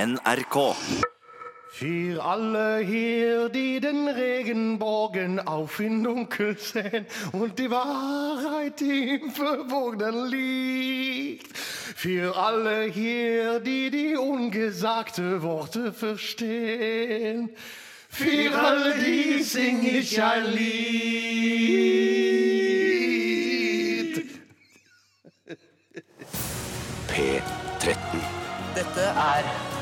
NRK. Für alle hier, die den Regenbogen auf in Dunkel sehen und die Wahrheit im Verborgenen liegt. Für alle hier, die die ungesagte Worte verstehen. Für alle die sing ich ein Lied. P13. Dette er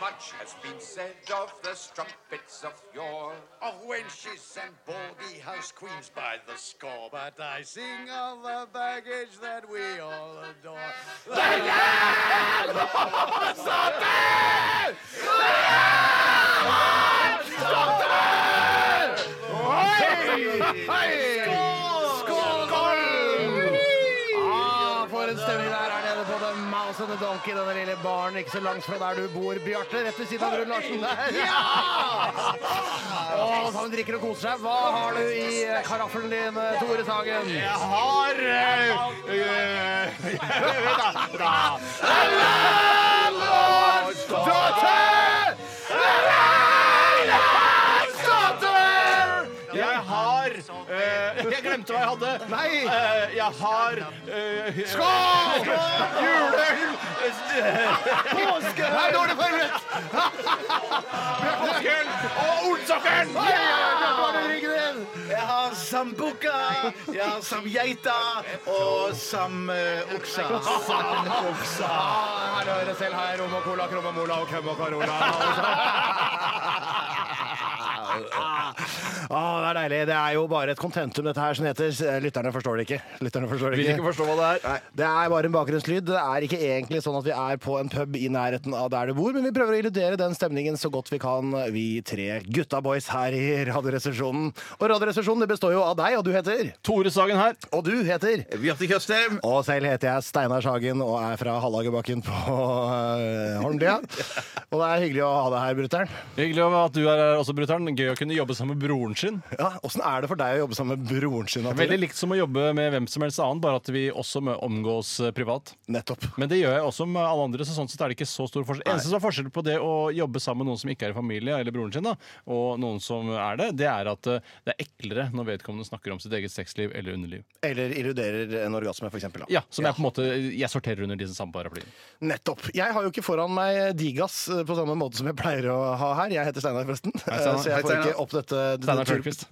Much has been said of the strumpets of yore, of wenches and baldy house queens by the score. But I sing of the baggage that we all adore. The Ah, for en stemning der er nede på The Mouse and the Donkey, denne lille baren ikke så langt fra der du bor, Bjarte. Rett ved siden av Brun Larsen der. Ja! Å, han drikker og koser seg. Hva har du i eh, karaffelen din, eh, Tore Sagen? Jeg har eh, eh, da, da. Jeg har eh, Jeg glemte hva jeg hadde. Nei! Eh, jeg har eh, Skål! Juleøl! Påske! Nei, nå er det forrett! Påskeøl og Olsokeren! Hei, Bjarte, hva er det du drikker din? Jeg har sambuca, jeg har samgeita og eh, samoksa. Ah, her hører jeg selv her. Rom og cola, krom og mola og køm og karola. Ah, det er deilig. Det er jo bare et kontentum, dette her, som heter Lytterne forstår det ikke. Lytterne forstår det ikke. forstå hva det er. Det er bare en bakgrunnslyd. Det er ikke egentlig sånn at vi er på en pub i nærheten av der du bor, men vi prøver å illudere den stemningen så godt vi kan, vi tre gutta boys her i Radioresepsjonen. Og Radioresepsjonen det består jo av deg, og du heter Tore Sagen her. Og du heter Bjarte Tjøstheim. og selv heter jeg Steinar Sagen og er fra Hallagerbakken på øh, Holmlia. Og det er hyggelig å ha deg her, brutter'n. Hyggelig at du er her også, brutter'n. Gøy å kunne jobbe sammen med broren sin. Ja, Åssen er det for deg å jobbe sammen med broren sin? Atle? Veldig likt som å jobbe med hvem som helst annen, bare at vi også må omgås eh, privat. Nettopp. Men det gjør jeg også med alle andre, så sånn sett er det ikke så stor forskjell. Eneste som er forskjell på det å jobbe sammen med noen som ikke er i familie, eller broren sin, da, og noen som er det, det er at eh, det er eklere når vedkommende snakker om sitt eget sexliv eller underliv. Eller illuderer en orgasme, for eksempel. da. Ja, som jeg på en måte jeg sorterer under disse samme paraplyene. Nettopp. Jeg har jo ikke foran meg Digas eh, på samme måte som jeg pleier å ha her. Jeg heter Steinar, forresten. Steinar. Eh, Så Hei, jeg får Steinar. ikke opp dette Steinar Tørnquist.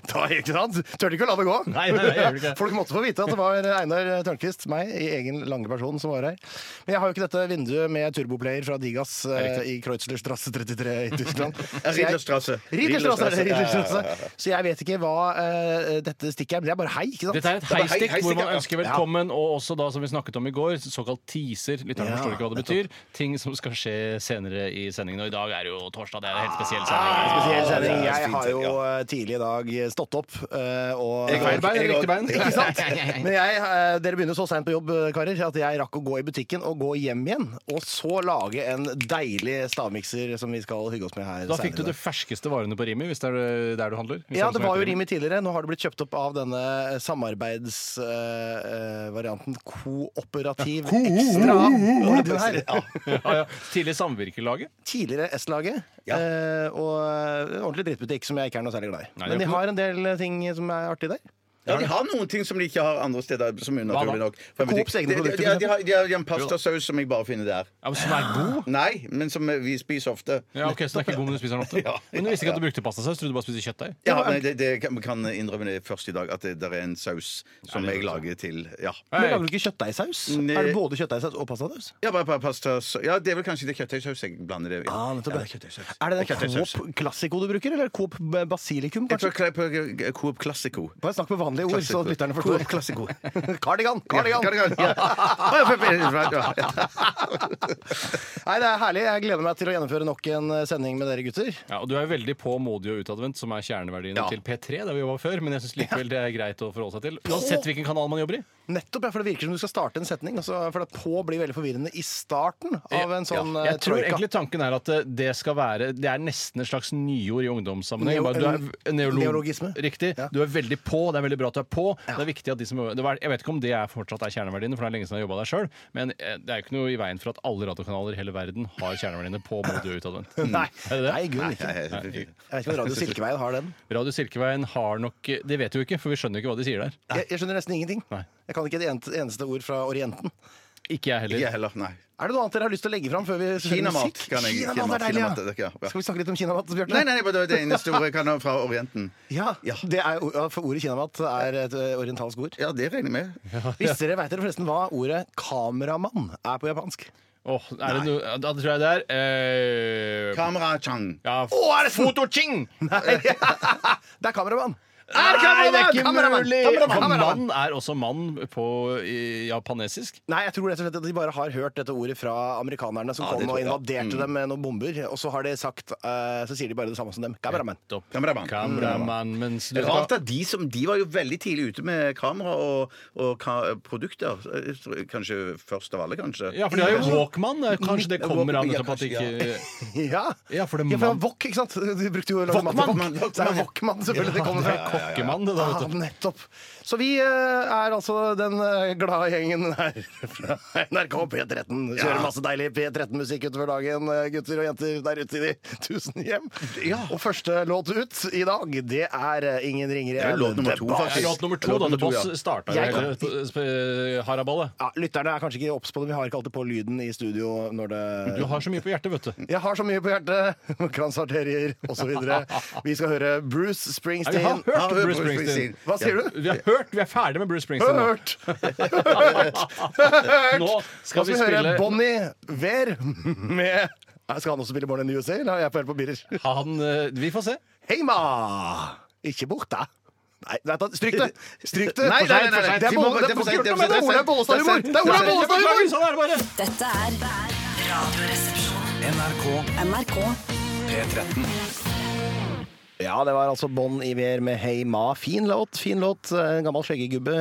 da, ikke sant? Tør du ikke å la det gå? Nei, nei, nei, jeg gjør det ikke. Folk måtte få vite at det var Einar Tørnquist, meg, i egen lange person, som var her. Men jeg har jo ikke dette vinduet med turboplayer fra Digas eh, i Kreutzlers strasse 33 i Tyskland. Så jeg- Riedlerstrasse. Riedlerstrasse, er det, Riedlerstrasse. Riedlerstrasse. Så jeg vet ikke hva eh, dette stikket er, men det er bare hei, ikke sant? Dette er et bare hei- heistikk hvor heistikk, man ja. ønsker velkommen, og også da som vi snakket om i går, såkalt teaser. Lytterne Ja, forstår ikke hva det betyr. Ting som skal skje senere i sendingen. Og i dag er det jo torsdag, det er en helt spesiell sending. Spesiell sending. det er Jeg fint, har jo ja. eh, tidlig i dag stått opp eh, og Jeg Feil bein eller riktig bein? Ikke sant? Men jeg, eh, dere begynner så seint på jobb, eh, karer, at jeg rakk å gå i butikken og gå hjem igjen. Og så lage en deilig stavmikser som vi skal hygge oss med her Da fikk senere i du de dag. ferskeste varene på Rimi, hvis det er der du handler. Hvis Ja, er det som var jo heter Rimi tidligere. Nå har det blitt kjøpt opp av denne eh, samarbeidsvarianten Kooperativ Ekstra. Den her. Ja, ja. Tidlig samvirkelaget. Tidligere S-laget. Ja. eh, Og eh, ordentlig drittbutikk som jeg ikke er noe særlig glad i. Nei, det er Men de ikke- har en del ting som er artig der. Ja, de har noen ting som de ikke har andre steder. Som er Hva unaturlig da? nok. For jeg vet Coops ikke- egne de, de, produkter, de, for de, har, de har en pastasaus som jeg bare finner der. Ja, men som er god. Nei, men som eh, vi spiser ofte. Ja, ok, Så den er ikke god, men du spiser den ofte. Ja. Men du visste ikke at du brukte pastasaus? Trodde du bare spiste kjøttdeig? Ja, men det, det kan, kan innrømme det først i dag, at det der er en saus som jeg lager til Ja, Hei. Men lager du ikke kjøttdeigsaus? Nei. Er det både kjøttdeigsaus og pastasaus? ja bare, bare pastasaus. Ja, det er vel kanskje det kjøttdeigsaus jeg blander det i. Ah, nettopp. Ja, det er kjøttdeigsaus. Er det Det er den kjøttdeigsaus. Coop Classico du bruker, eller er det Coop Basilikum? Jeg kanskje? tror jeg pleier på Coop Classico. Bare snakk med vanlige ord, så lytterne forstår. Klassiko. Kardigan! Ja, Kardigan! Cardigan, ja. Ja, ja. Nei, det er herlig. Jeg gleder meg til å gjennomføre nok en eh, sending med dere gutter. Ja, og Du er jo veldig på modig og utadvendt, som er kjerneverdiene Ja. til P3, der vi jobba før. Men jeg syns likevel det er greit å forholde seg til. Uansett hvilken kanal man jobber i. Nettopp, ja, for Det virker som du skal starte en setning. Altså, for det på blir veldig forvirrende i starten av en sånn Ja. eh, Jeg tror troika. egentlig tanken er at eh, det skal være Det er nesten et slags nyord i ungdomssammenheng. Neo- Bare, du er v- neolo neologisme. Riktig. Ja. Du er veldig på. Det er veldig bra at du er på. Det er viktig at de som det var, Jeg vet ikke om det er fortsatt er kjerneverdiene, for det er lenge siden jeg har jobba der sjøl. Men eh, det er jo ikke noe i veien for at alle radiokanaler i hele verden har kjerneverdiene på modig og utadvendt. Nei, Mm. Er det det? nei i grunnen ikke. Nei, nei, Jeg nei. vet ikke om Radio Silkeveien har den. Radio Silkeveien har nok eh, Det vet vi jo ikke, for vi skjønner jo ikke hva de sier der. Jeg, jeg skjønner nesten ingenting. Nei. Jeg kan ikke et ent- eneste ord fra Orienten. Ikke jeg Ikke heller. jeg heller, nei. Er det noe annet dere har lyst til å legge fram før vi hører Kinamat musikk? kan jeg- Kinamat er deilig, ja. kinamat, ja. Ja. Skal vi snakke litt om kinamat, Bjarte? Nei, nei, bare det var det eneste ordet jeg kan ha fra Orienten. Ja, Ja. det er, ja, for ordet kinamat er et eh, orientalsk ord. Ja, det regner jeg med. Hvis dere vet dere forresten hva ordet kameramann er på japansk? Åh, er det noe, da tror jeg det er eh, Kamera-chang. ja, Fotoching! Nei, det er kameramann! Nei, det er ikke Kameramann! mulig! Kameramann! For Kameramann! mann er også mann på i, japanesisk. Nei, jeg tror rett og slett at de bare har hørt dette ordet fra amerikanerne som Ja, det kom tror og jeg. Mm. invaderte dem med noen bomber, og så har de sagt eh, Så sier de bare det samme som dem. Kameramann. Topp. Kameramann. Kameramann. Mens du Rart at de som De var jo veldig tidlig ute med kamera og, og ka produkter. Jeg tror- Kanskje først av alle, kanskje. Ja, for de har jo Walkman. Kanskje det kommer av Ja, nettopp at de ikke Ja. Ja, for det er ja, for mann. Wok, ikke sant? Du brukte jo Walkman. Wok. Det er jo Wokman, selvfølgelig. Det kommer fra Kokkemann, det da, Ja, vet du. nettopp. Så vi eh, er altså den eh, glade gjengen her fra NRK P13. Kjører masse deilig P13-musikk utover dagen, eh, gutter og jenter der ute i de tusen hjem. Og første låt ut i dag, det er eh, Ingen ringer Det er igjen. låt nummer to, Debatt. faktisk. Låt nummer to, Låt da. nummer The to, ja. Boss starta jo Jeg kan- hele eh, haraballet. Ja, lytterne er kanskje ikke obs på det, vi har ikke alltid på lyden i studio når det Du har så mye på hjertet, vet du. jeg har så mye på hjertet. Kransarterier osv. Vi skal høre Bruce Ja, vi Springsteen. har hørt Bruce Springsteen. Hva sier du? Vi har hørt, vi er ferdig med Bruce Springsteen. nå. Hørt! Hørt! Hørt! Nå skal vi høre spille Bonnie Ver med Nei, Skal han også spille Born in the USA, eller har jeg på helt på biler? han eh, Vi får se. Heima! Ikke bort, da. Nei, nei, da- stryk det! Stryk det! Nei, nei, nei, nei, For seg, for seg. det Det er er for Bo- det er sent, det er for Bo- gjort noe med det er Olaug Bollestad-humor! sent, det er for sent, det er Det er for Olaug sent. Bollestad-humor! Sånn er det bare. Dette er Radioresepsjonen. NRK NRK P13. Ja, det var altså Bon Iver med Hey Ma. Fin låt, fin låt. En gammel skjeggegubbe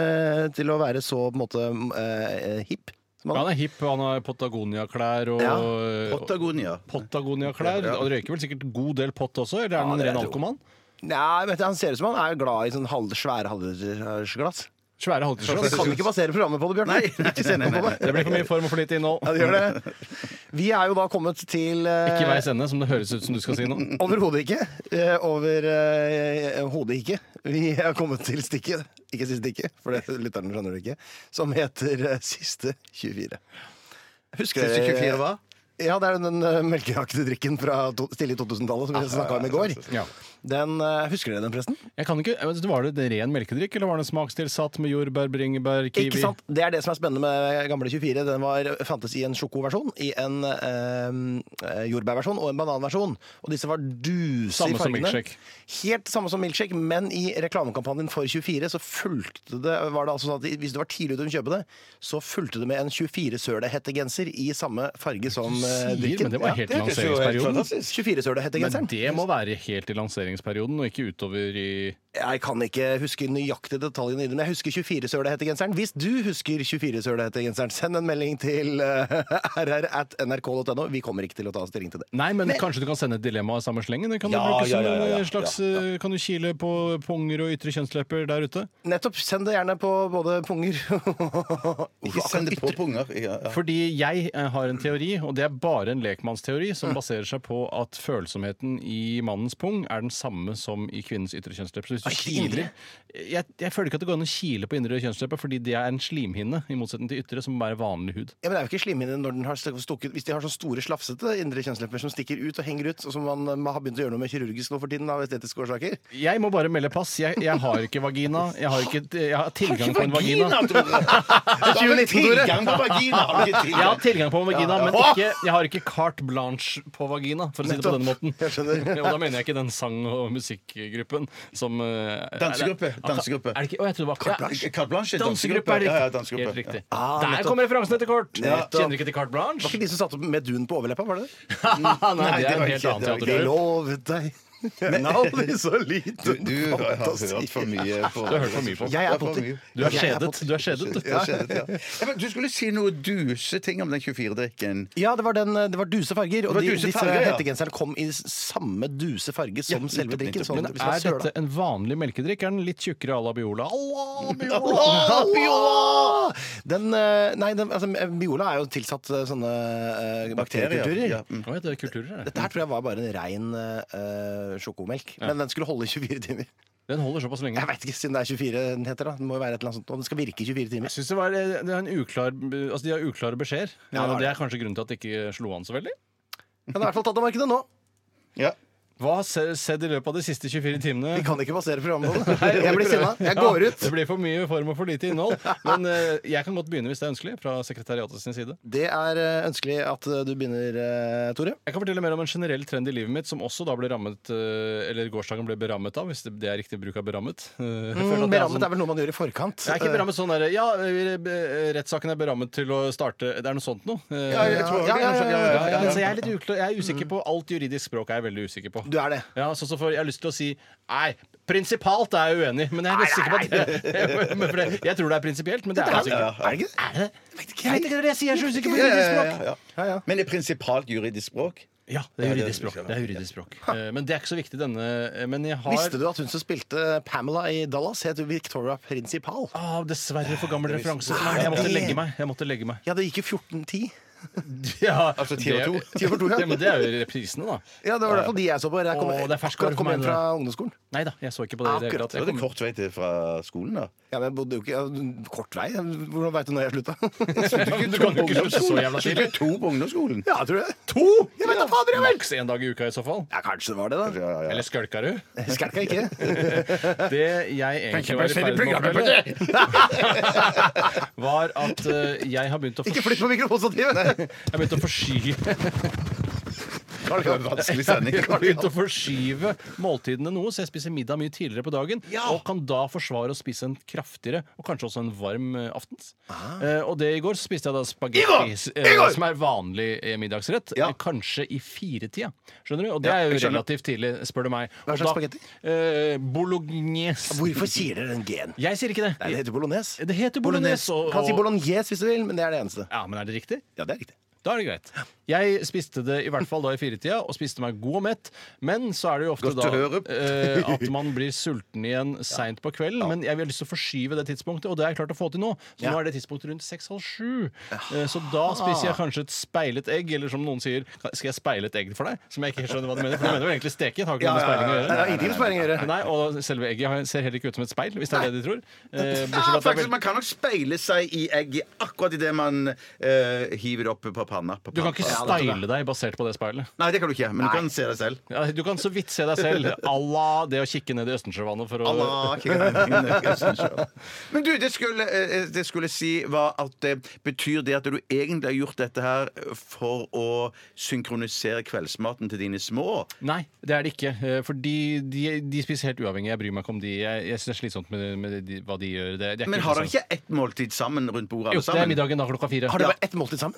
til å være så på en måte eh, hipp. Som han. Ja, han er hipp, han har Patagonia-klær og Ja, og- Patagonia. Patagonia-klær. Ja. Og røyker vel sikkert en god del pott også, eller er han en ren alkoman? Nei, vet du, han ser ut som han er glad i sånn halv, svære halvlitersglass. Svære Vi kan halvtidsglass. ikke basere programmet på det, Bjørn. Nei, nei, nei, nei, nei, Det blir for mye form og for lite innhold. Ja, det gjør det. Vi er jo da kommet til eh, Ikke i veis ende, som det høres ut som du skal si nå. Overhodet ikke. Eh, over eh, hodet ikke. Vi er kommet til stikket. Ikke siste stikket, for det lytterne skjønner det ikke. Som heter eh, Siste 24. Husker Siste 24 hva? Ja, det er jo den eh, melkeaktige drikken fra to, stille i 2000-tallet som vi snakka om i går. Ja. Den, eh, husker dere den, forresten? Jeg kan ikke, jeg vet ikke, Var det en ren melkedrikk, eller var det en smakstilsatt med jordbær, bringebær, kiwi? Ikke sant? Det er det som er spennende med Gamle 24. Den var, fantes i en sjokoversjon, i en eh, jordbærversjon og en bananversjon. Og disse var duse Samme i som fargene. milkshake. Helt samme som milkshake, men i reklamekampanjen for 24 så fulgte det var det altså sånn at Hvis du var tidlig ute med å kjøpe det, så fulgte det med en 24-sølehettegenser i samme farge som eh, Sier, drikken. men det var helt i lanseringsperioden. 24-sølehettegenseren. Men det må være helt i lanseringsperioden, og ikke utover i Jeg kan ikke huske nøyaktig detaljene i det, men jeg husker 24-sølehettegenseren. Hvis du husker 24-sølehettegenseren, send en melding til eh, rr at nrk.no. Vi kommer ikke til å ta stilling til det. Nei, men, kanskje du kan sende et dilemma i samme slengen? Kan Ja, du bruke ja, som ja, ja, en ja, slags eh, Kan du kile på punger og ytre kjønnslepper der ute? Nettopp. Send det gjerne på både punger Ikke send det på punger. Ja, ja. Fordi jeg eh, har en teori, og det er bare en lekmannsteori, som baserer seg på at følsomheten i mannens pung er den samme som i kvinnens ytre kjønnslepper. Så hvis du kiler jeg, jeg føler ikke at det går an å kile på indre kjønnslepper, fordi det er en slimhinne, i motsetning til ytre, som bare er vanlig hud. Ja, men det er jo ikke slimhinne når den har stukket Hvis de har så store, slafsete indre kjønnslepper som stikker ut og henger ut, og som man eh, har begynt å gjøre noe med kirurgisk nå for tiden av estetiske årsaker. Jeg må bare melde pass. Jeg, jeg har ikke vagina. Jeg har ikke jeg har tilgang på en vagina. Du har 2019, vel Tore. tilgang på vagina! Har du ikke Jeg har tilgang? tilgang på vagina, men ikke, jeg har ikke carte blanche på vagina, for å si det på den måten. Jeg skjønner. Og da mener jeg ikke den sang- og musikkgruppen som eh, eh, Dansegruppe, er det- dansegruppe. Er det ikke, å, jeg trodde det var Carte Blanche. Carte Blanche, Dansegruppe er dansegruppe. Ja, ja, riktig. dansegruppe. Helt riktig. Ah, Der nettopp. kom referansen etter kort! Nettopp. Kjenner ikke til Carte Blanche? Var Ah, ikke de som satte opp medun på overleppa, var det det? Nei, det det var ikke- er en helt annen det var ikke- teatergruppe. lovet deg en aldri så Du, liten du har hørt for mye på Du har hørt for mye på. Jeg er Det potter. Du Jeg er er skjedet. Du er skjedet. Det har skjedd, ja. Ja, men Du skulle si noe duseting om den 24-drikken. Ja, det var, den, det var duse farger. Og var de, duse disse farger, ja. hettegenserne kom i s- samme duse farge som selve nettopp, drikken. nettopp. så Men det var er søla. dette en vanlig melkedrikk? Er den litt tjukkere à la Biola? À la Biola! Åh, Biola! Den, eh, nei, den, altså, Biola er jo tilsatt eh, sånne eh, bakteriekulturer. Ja, mm. Hva heter det? Kulturer? er det? Dette her tror jeg var bare en rein eh, sjokomelk. Men den skulle holde i 24 timer. Den holder såpass lenge. Jeg vet ikke, siden det er 24 den heter. da Den må jo være et eller annet sånt, og den skal virke i 24 Jeg timer. synes det var, eh, det er en uklar, altså De har uklare beskjeder. Ja, det var det er kanskje grunnen til at det ikke slo an så veldig. Den er i hvert fall tatt av markedet nå. ja. Hva har se- skjedd i løpet av de siste 24 Vi timene? kan ikke basere programmet på det. Jeg blir sinna. Jeg går Ja, ut. det blir for mye form og for lite innhold. Men eh, jeg kan godt begynne hvis det er ønskelig. fra sekretariatet sin side. Det er eh, ønskelig at eh, du begynner, eh, Tore. Jeg kan fortelle mer om en generell trend i livet mitt som også da ble rammet eh, eller gårsdagen ble berammet av, hvis det det er riktig bruk av berammet. Eh, jeg føler at det er sånn- Mm, Berammet er vel noe man gjør i forkant. Det er ikke berammet sånn der, ja, eh, eh, Rettssaken er berammet til å starte Det er noe sånt noe. Eh, Ja, jeg tror Ja, ja, ja, ja, Ja, ja, så jeg er litt uklar, jeg er usikker på alt juridisk språk. er jeg veldig usikker på. Du er det. Ja, så, så for, Jeg har lyst til å si Nei, prinsipalt er jeg uenig, men jeg er litt sikker på at det, men for det, Jeg tror det er prinsipielt, men det er det altså ikke. Er det ikke det? Er det? Jeg vet ikke hva jeg sier, jeg er så usikker på Ja, ja, juridisk språk. ja, ja. Men er prinsipalt juridisk språk? Ja, det er juridisk språk. Det er juridisk språk. Eh, Men det er ikke så viktig denne eh, Men jeg har Visste du at hun som spilte eh, Pamela i Dallas, het Victoria Principal? Ah, dessverre for gammel referanse. Hva er det? Jeg måtte legge meg. Jeg måtte legge meg. Ja, det gikk jo 14-10. Ja, Altså, ti over det- to. Ti over to, ja. men det er jo reprisene, da. Ja, det var i hvert fall de jeg så på. Jeg kom, Åh, det er fersk akkurat varme kom for hjem meg, fra ungdomsskolen. Nei da, jeg så ikke på det. i det hele Akkurat. tatt. Det Jeg var det kom- kort vei til fra skolen, da. Ja, men jeg bodde jo ikke ja, Kort vei? Hvordan veit du når jeg slutta? Du kan jo ikke slutte så jævla Skulle tidlig. du to på ungdomsskolen? ja, tror du det? To! Jeg vet da fader, jeg vel! Maks én dag i uka i så fall. Ja, kanskje det var det, da. Ja, ja, ja. Eller skalka du? Skalka ikke. Det jeg egentlig var i ferd med å fortelle, var at eh, jeg har begynt å Ikke forsky- flytt på mikrofonstativet! jeg har begynt å forskyve Det var en vanskelig sending. Jeg har begynt å forskyve måltidene noe, så jeg spiser middag mye tidligere på dagen. Og kan da forsvare å spise en kraftigere og kanskje også en varm eh, aftens. Eh, og det i går så spiste jeg da spagetti, s- eh, Igor! som er vanlig eh, middagsrett, Ja. eh, kanskje i firetida. Skjønner du? Og det Ja, er jo jeg skjønner. relativt tidlig, spør du meg. Hva Og slags da- spagetti? Eh, bolognese. Hvorfor sier dere den G-en? Jeg sier ikke det. Nei, det heter bolognese. Det heter bolognese. og- Kan si og- bolognese hvis du vil, men det er det eneste. Ja, men er det riktig? Ja, det er riktig. Da er det greit. Jeg spiste det i hvert fall da i firetida, og spiste meg god og mett. Men så er det jo ofte Godt å høre. da eh, at man blir sulten igjen seint på kvelden. Men jeg vil lyst til å forskyve det tidspunktet, og det har jeg klart å få til nå. Så nå er det tidspunktet rundt seks halv sju. Ah. Eh, Så da spiser jeg kanskje et speilet egg, eller som noen sier, skal jeg speile et egg for deg? Som jeg ikke helt skjønner hva du mener, for du mener jo egentlig steke? Det har ikke noe med speiling å Det gjøre. har ingenting med sparing å gjøre. Nei, og selve egget har- ser heller ikke ut som et speil, hvis det er det de tror. Ja, Eh, bortsett fra at det er faktisk, veldig- Man kan nok speile seg i egget akkurat idet man eh, hiver det opp på panna. På Du kan ikke panna. style deg basert på det speilet. Nei, det kan du ikke, men du kan se deg selv. Ja, du kan så vidt se deg selv à la det å kikke ned i Østensjøvannet for å Allah, ikke kan- Men du, det skulle, eh, det skulle si var at det betyr det at du egentlig har gjort dette her eh, for å synkronisere kveldsmaten til dine små? Nei, det er det ikke. eh, Fordi de, de spiser helt uavhengig. Jeg bryr meg ikke om de. Jeg, jeg synes det er slitsomt med, med de, hva de gjør. Det, det er Men har dere interessant. ikke ett måltid sammen rundt bordet? alle Jo, det er sammen? middagen da klokka fire. Har dere bare ett måltid sammen?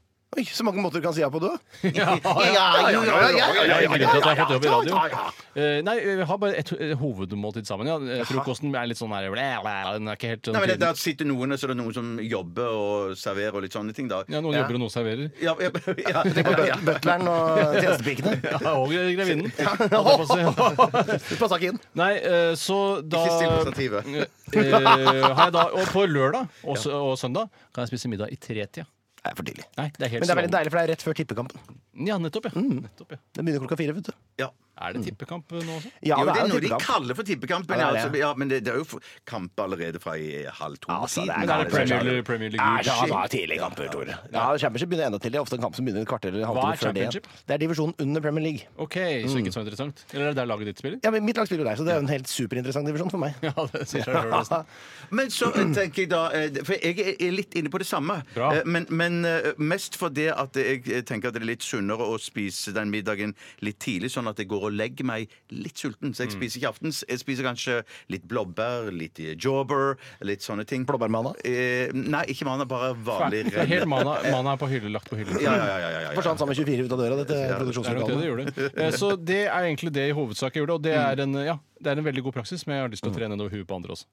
Oi, så mange måter du kan si ja på, du. Ja, ja, ja, ja, ja, ja, Det er grunnen til at jeg har fått jobb i radio. ja, ja. Eh, Nei, vi har bare et eh, hovedmåltid sammen. Ja. Eh, Frokosten er litt sånn her Den er ikke helt sånn Nei, men det, tydelig. der sitter noen, og så er det noen som jobber og serverer og litt sånne ting, da. Ja, Noen jobber og noen serverer. Ja, ja, ja, ja, ja. Butleren og tjenestepikene. Ja, og grevinnen. Holdt jeg på å si. Pass tak inn. Nei, eh, så da Ikke still på stativet. Eh, har jeg da, og på lørdag og, s- og søndag kan jeg spise middag i tretida. Det er for tidlig. Nei, Men det det er Mm. helt er veldig strålende. deilig, for det er rett før tippekampen. Ja, nettopp, ja. nettopp, ja. Den begynner klokka fire, vet du. Ja. Er det tippekamp eh, nå også? Ja, Jo, det er jo noe de tippekamp. kaller for tippekampen. Ja, det er Ja, altså, det. ja, men det, det er jo f- kamp allerede fra i halv to. Altså, det er tiden. Men er det Ja, det er Premier, League- Premier League Nei, det er- Shit. det er tidlige kamper, Tore. Ja, Championship begynner enda tidligere. Ofte en kamp som begynner et kvarter eller en Hva halvtime er før det. igjen. Championship? Det er divisjonen under Premier League. OK, så ikke så interessant. Eller er det der laget ditt spiller? Ja, men Mitt lag spiller jo der, så det er jo en helt superinteressant divisjon for meg. Ja, det sier seg selv, nesten. Men så tenker jeg da eh, For jeg er litt inne på det samme. Bra. Eh, Men, men eh, mest fordi at jeg tenker at det er litt sunnere å spise den middagen litt tidlig, sånn at jeg går og og legger meg litt sulten, så jeg Mm. spiser ikke aftens. Jeg spiser kanskje litt blåbær, litt jawber, litt sånne ting. Blåbærmana? Eh, nei, ikke mana, bare vanlig Det er Helt mana, mana er på hylle, lagt på hylle. Ja, ja, ja, ja, ja, ja. Forsvant sammen 24 ut av døra, dette Det er nok det det produksjonslokalet. gjorde. Eh, Så det er egentlig det i hovedsak jeg gjorde. Og det er en, ja, det er en veldig god praksis, men jeg har lyst til å trene den over huet på andre også.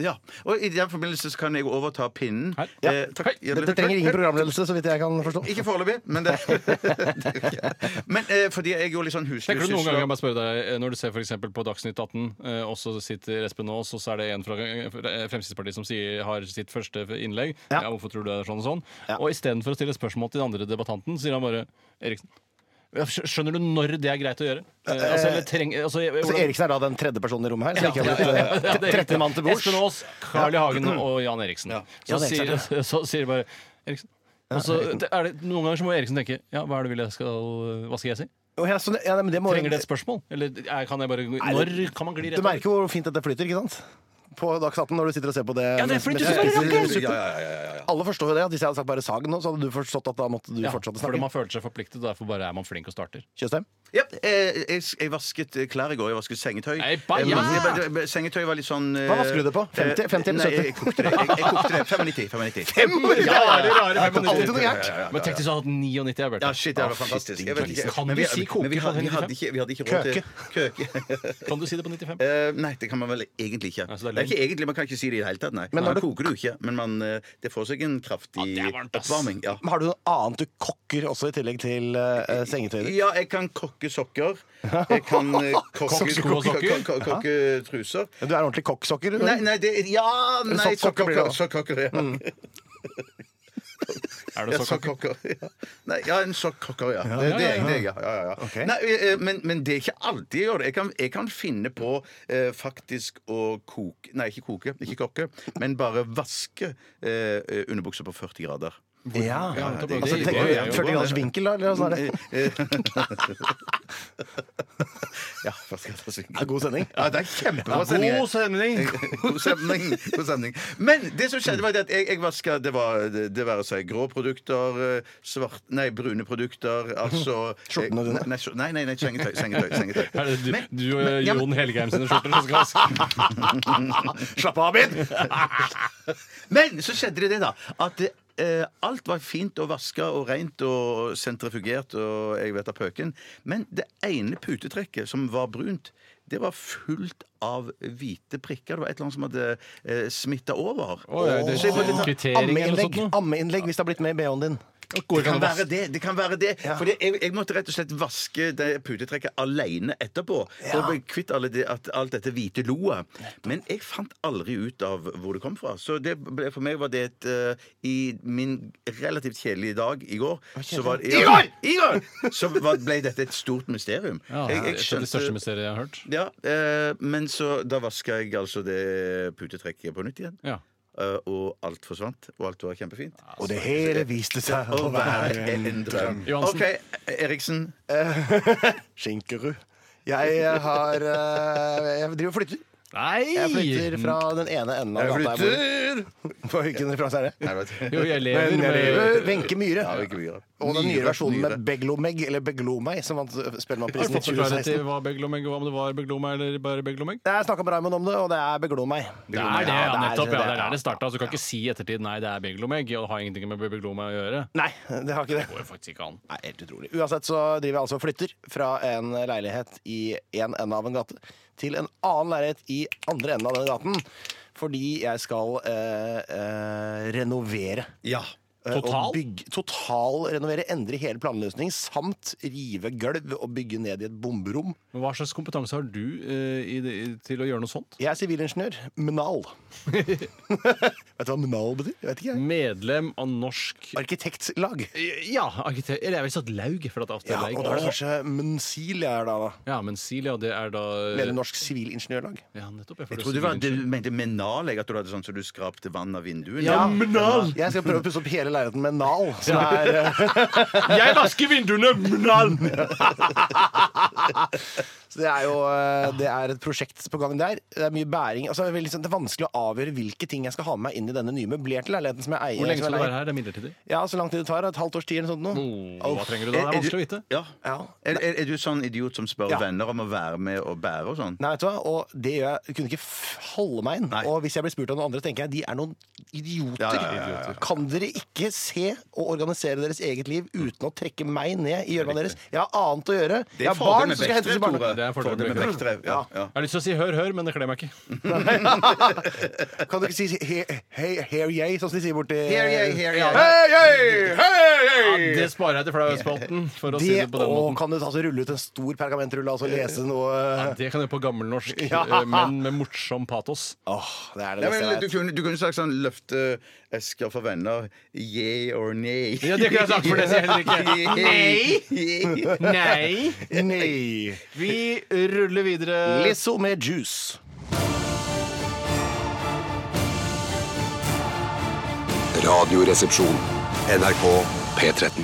Ja, og i den forbindelse så kan jeg overta pinnen. Her. Eh, takk. Ja, Dette trenger ingen programledelse, så vidt jeg kan forstå. Ikke foreløpig, men det, Men eh, fordi jeg gjorde litt sånn huslig Tenker du noen ganger, jeg bare spør deg, eh, Når du ser for eksempel på Dagsnytt 18, eh, og så sitter Espen Aas, og så er det en fra eh, Fremskrittspartiet som sier, har sitt første innlegg Ja. ja. Hvorfor tror du det er sånn og sånn? Ja. Og istedenfor å stille spørsmål til den andre debattanten, sier han bare Eriksen. ja, skj- Skjønner du når det er greit å gjøre? Eh, altså, eller treng, altså, jeg- Så hvordan- Eriksen er da den tredje personen i rommet her? Som ikke har Ja, ja, blitt ja, eh, det er 13 eh, mann til bords? Espen Aas, Carl I. Hagen og Jan Eriksen. Så, Jan Eriksen, sier, så sier bare Eriksen. Og så er det, Noen ganger så må Eriksen tenke Ja, hva er det vil jeg skal Hva skal jeg si? Å, ja, så det- ja, nei, men det må- Trenger det et spørsmål? Eller er, kan jeg bare Når kan man gli rett Du merker jo hvor fint dette flyter, ikke sant? På Dagsnytt når du sitter og ser på det. Ja, det mens- er fordi du mens sitter og spiser rakker. suppe. Ja, ja, ja, ja, ja. Alle forstår jo det. at Hvis jeg hadde sagt bare Sagen nå, så hadde du forstått at da måtte du Ja, fortsette å fordi snakke. man føler seg forpliktet, og derfor bare er man flink og starter. Tjøstheim? ja eh, jeg, jeg vasket klær i går. Jeg vasket sengetøy. Nei, Eh, bare- ja! men- men- men Sengetøy var litt sånn eh, Hva vasker du det på? 50, 50 eller Nei, jeg 70? kokte det. Jeg, jeg kokte det 95. 95. Alltid noe gærent. Ah, Men tenk hvis du hadde hatt 99, Albert. Ja, shit, det var fantastisk. Jeg vet ikke. Kan Men du vi- si sånn koke men vi på hadde- vi hadde 95? ikke- Vi hadde ikke råd til Køke. Kan du si det på 95? Eh, nei, det kan man vel egentlig ikke. Nei, det så Altså, er det er ikke egentlig, Man kan ikke si det i det hele tatt. nei Men når Man du- koker det jo ikke, men man, eh, det får seg en kraftig Ja, det er varmt, ass. oppvarming. Ja. Men har du noe annet du kokker også i tillegg til uh, sengetøyet? ja, jeg kan kokke sokker. Jeg kan eh, kokke Kokke sko og kokke- sokker? kokke- kokke truser. Du er en ordentlig kokksokker? du? Nei, nei, det Ja! Nei, Sokkokker blir det sokkokker. også. sokkokker, ja. Er Eh, Ja, det så sokkokker, ja. Nei, ja, en sokkokker, ja. Det, det, er jeg, det, er jeg, ja, ja, ja, ja. Ok. Nei, eh, men, men det er ikke alltid jeg gjør det. Jeg kan, jeg kan finne på eh, faktisk å koke Nei, ikke koke, ikke kokke, men bare vaske eh, underbukser på 40 grader. Ja. Ja, det er- Altså, det er- tenker det du er- 40 graders vinkel, da? Eller sånn er det? Ja, hva skal jeg ta svinge? Ja, God sending. Ja, det er kjempebra sending. God sending! God stemning. God stemning. Men det som skjedde, var det at jeg, jeg vaska det, var, det, det være seg grå produkter, eh, svart, nei, brune produkter, altså Skjortene dine? Nei, nei, nei, nei sengetøy. sengetøy, sengetøy. Er det du, Men- du og ja, men- Jon Helgheim sine skjorter som skal vaske? Slapp av, Abid! Men så skjedde det det, da. At det, eh, alt var fint og vaska og rent og sentrifugert og jeg vet da pøken. Men det ene putetrekket som var brunt, det var fullt av hvite prikker. Det var et eller annet som hadde eh, smitta over. Å, ja, det Så jeg måtte ta- er kvittering sånn eller noe sånt Ammeinnlegg. noe. Ammeinnlegg hvis det har blitt med i BH-en din. Det kan være det. det, kan være det. Fordi jeg, jeg måtte rett og slett vaske det putetrekket alene etterpå. For å bli kvitt alle det, at, alt dette hvite loet. Men jeg fant aldri ut av hvor det kom fra. Så det ble, for meg var det et eh, I min relativt kjedelige dag i går så var, I går! I går! Så var, ble dette et stort mysterium. Ja, det er et av de største mysteriene jeg har hørt. ja, eh, men så da vaska jeg altså det putetrekket på nytt igjen. Ja. Eh, og alt forsvant, og alt var kjempefint. Og det hele viste seg Å være en drøm. Johansen. OK, Eriksen. Skinkerud. Jeg har eh, Jeg driver og flytter. Jeg flytter Nei! fra den ene enden av gata jeg bor i. På Hvilken referanse er det? Jo, jeg lever Men jeg lever med Wenche Myhre. Ja, ikke mye. Og den nye versjonen Nyere. med Beglomeg, eller Beglomeg, som vant Har du Spellemannprisen i fått forklaret 2016. til hva Beglomeg var, om det var Beglomeg eller bare Beglomeg? Jeg snakka med Raymond om det, og det er Beglomeg. Det er det, ja, det er nettopp. Ja, det er det. der det starta. Så du kan ikke si i ettertid nei, det er Beglomeg, og det har ingenting med Beglomeg å gjøre. Nei, det har ikke det. Det går jo faktisk ikke an. Nei, helt utrolig. Uansett så driver jeg altså og flytter fra en leilighet i en ende av en gate til en annen leilighet i andre enden av denne gaten. Fordi jeg skal eh, eh, renovere. Ja. Eh, og Total? Bygge, total renovere, endre hele planløsning samt rive gulv og bygge ned i et bomberom. Men hva slags kompetanse har du eh, i, det- i, til å gjøre noe sånt? Jeg er sivilingeniør. Mnal. vet du hva mnal betyr? Jeg vet ikke jeg. Medlem av norsk Arkitektlag. Eh, Ja, arkitekt Eller jeg ville sagt laug, for at det ofte Ja, og da er er det laug. kanskje Mnsil jeg er da. da. Ja, men Silja, det er da Leder Norsk sivilingeniørlag. Ja, nettopp. Jeg trodde du, var, du mente menal, jeg, at du hadde sånn som du skrapte vann av vinduene. Ja, mnal! Jeg skal prøve å pusse opp hele leiligheten med nal. Som er, eh, Jeg vasker vinduene! Mnal! så Det er jo eh, det er et prosjekt på gang der. Det er mye bæring. Altså, det, er veldig sånn- det er vanskelig å avgjøre hvilke ting jeg skal ha med meg inn i denne nye møblerte leiligheten som jeg eier. Hvor lenge som skal jeg du leier. være her? Det er midlertidig. Ja, Så lang tid det tar. Et halvt års tid eller noe sånt. nå. Oh, hva trenger du da? Det er vanskelig å vite. Ja. Ja. Er, er, er du sånn idiot som spør Ja. venner om å være med og bære og sånn? Nei, vet du hva? Og det gjør jeg. jeg kunne ikke f holde meg inn. Nei. Og hvis jeg blir spurt av noen andre, tenker jeg de er noen idioter. Ja, ja, ja, ja, ja. Kan dere ikke se og organisere deres eget liv uten å trekke meg ned i gjørma deres? Jeg har annet å gjøre. Jeg har barn som skal hentes i barnehagen. Det er fordelen Fordelen med med Bektre. Ja, ja. Jeg har lyst til å si hør, hør, men det kler meg ikke. Kan du ikke si he, he, hear yay, sånn som de sier borti Hear yay, hear yay. Hey, yay, hey, Ja, yay. det sparer jeg til flautspalten, for å si Det, det på den og måten. kan du altså rulle ut en stor pergamentrulle altså, og lese noe Det kan jeg gjøre på gammelnorsk, Ja. eh, men med morsom patos. Åh, det er det Nei, beste men, jeg du, vet. kunne, du kunne sagt sånn løfteesker for venner. Yeah or nay. Ja, det kunne jeg sagt, for det sier jeg heller ikke. Nei! Nei. Nei. Vi ruller videre. Lizzo med juice. Radioresepsjon. NRK P13.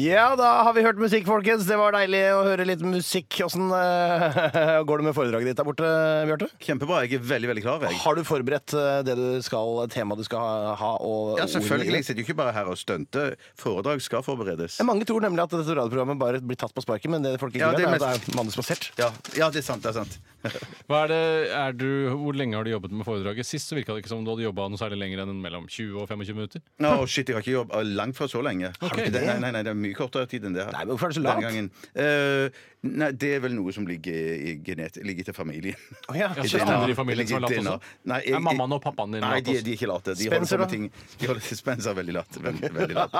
Ja, da har vi hørt musikk, folkens. Det var deilig å høre litt musikk. Åssen eh, går det med foredraget ditt der borte, Bjarte? Kjempebra. Jeg er veldig, veldig klar. Jeg. Har du forberedt eh, det du skal, temaet du skal ha? Og Ja, ordene i selvfølgelig. det? Jeg sitter jo ikke bare her og stunter. Foredrag skal forberedes. Mange tror nemlig at dette radioprogrammet bare blir tatt på sparket, men det folk ikke Ja, vet, det er at er det mest- er manusbasert. Ja, ja, det er sant. det er sant Hva er det, er du, hvor lenge har du jobbet med foredraget? Sist så virka det ikke som om du hadde jobba noe særlig lenger enn mellom 20 og 25 minutter. Nå, shit, Jeg har ikke jobbet langt fra så lenge. Har du ikke det? Nei, nei, nei, Det er mye kortere tid enn det. her. Nei, men hvorfor er det så Denne langt? gangen. Eh, nei, det er vel noe som ligger, i genet, ligger til familien. Å, ja. Ja, så er det DNA. andre i familien som er Ligger i late DNA. også? Nei, jeg- Er mammaen og pappaen din Nei, late de, også? de er ikke late. De Spencer, holder på med da? ting de holder, Spencer er veldig lat. Veldig, veldig lat.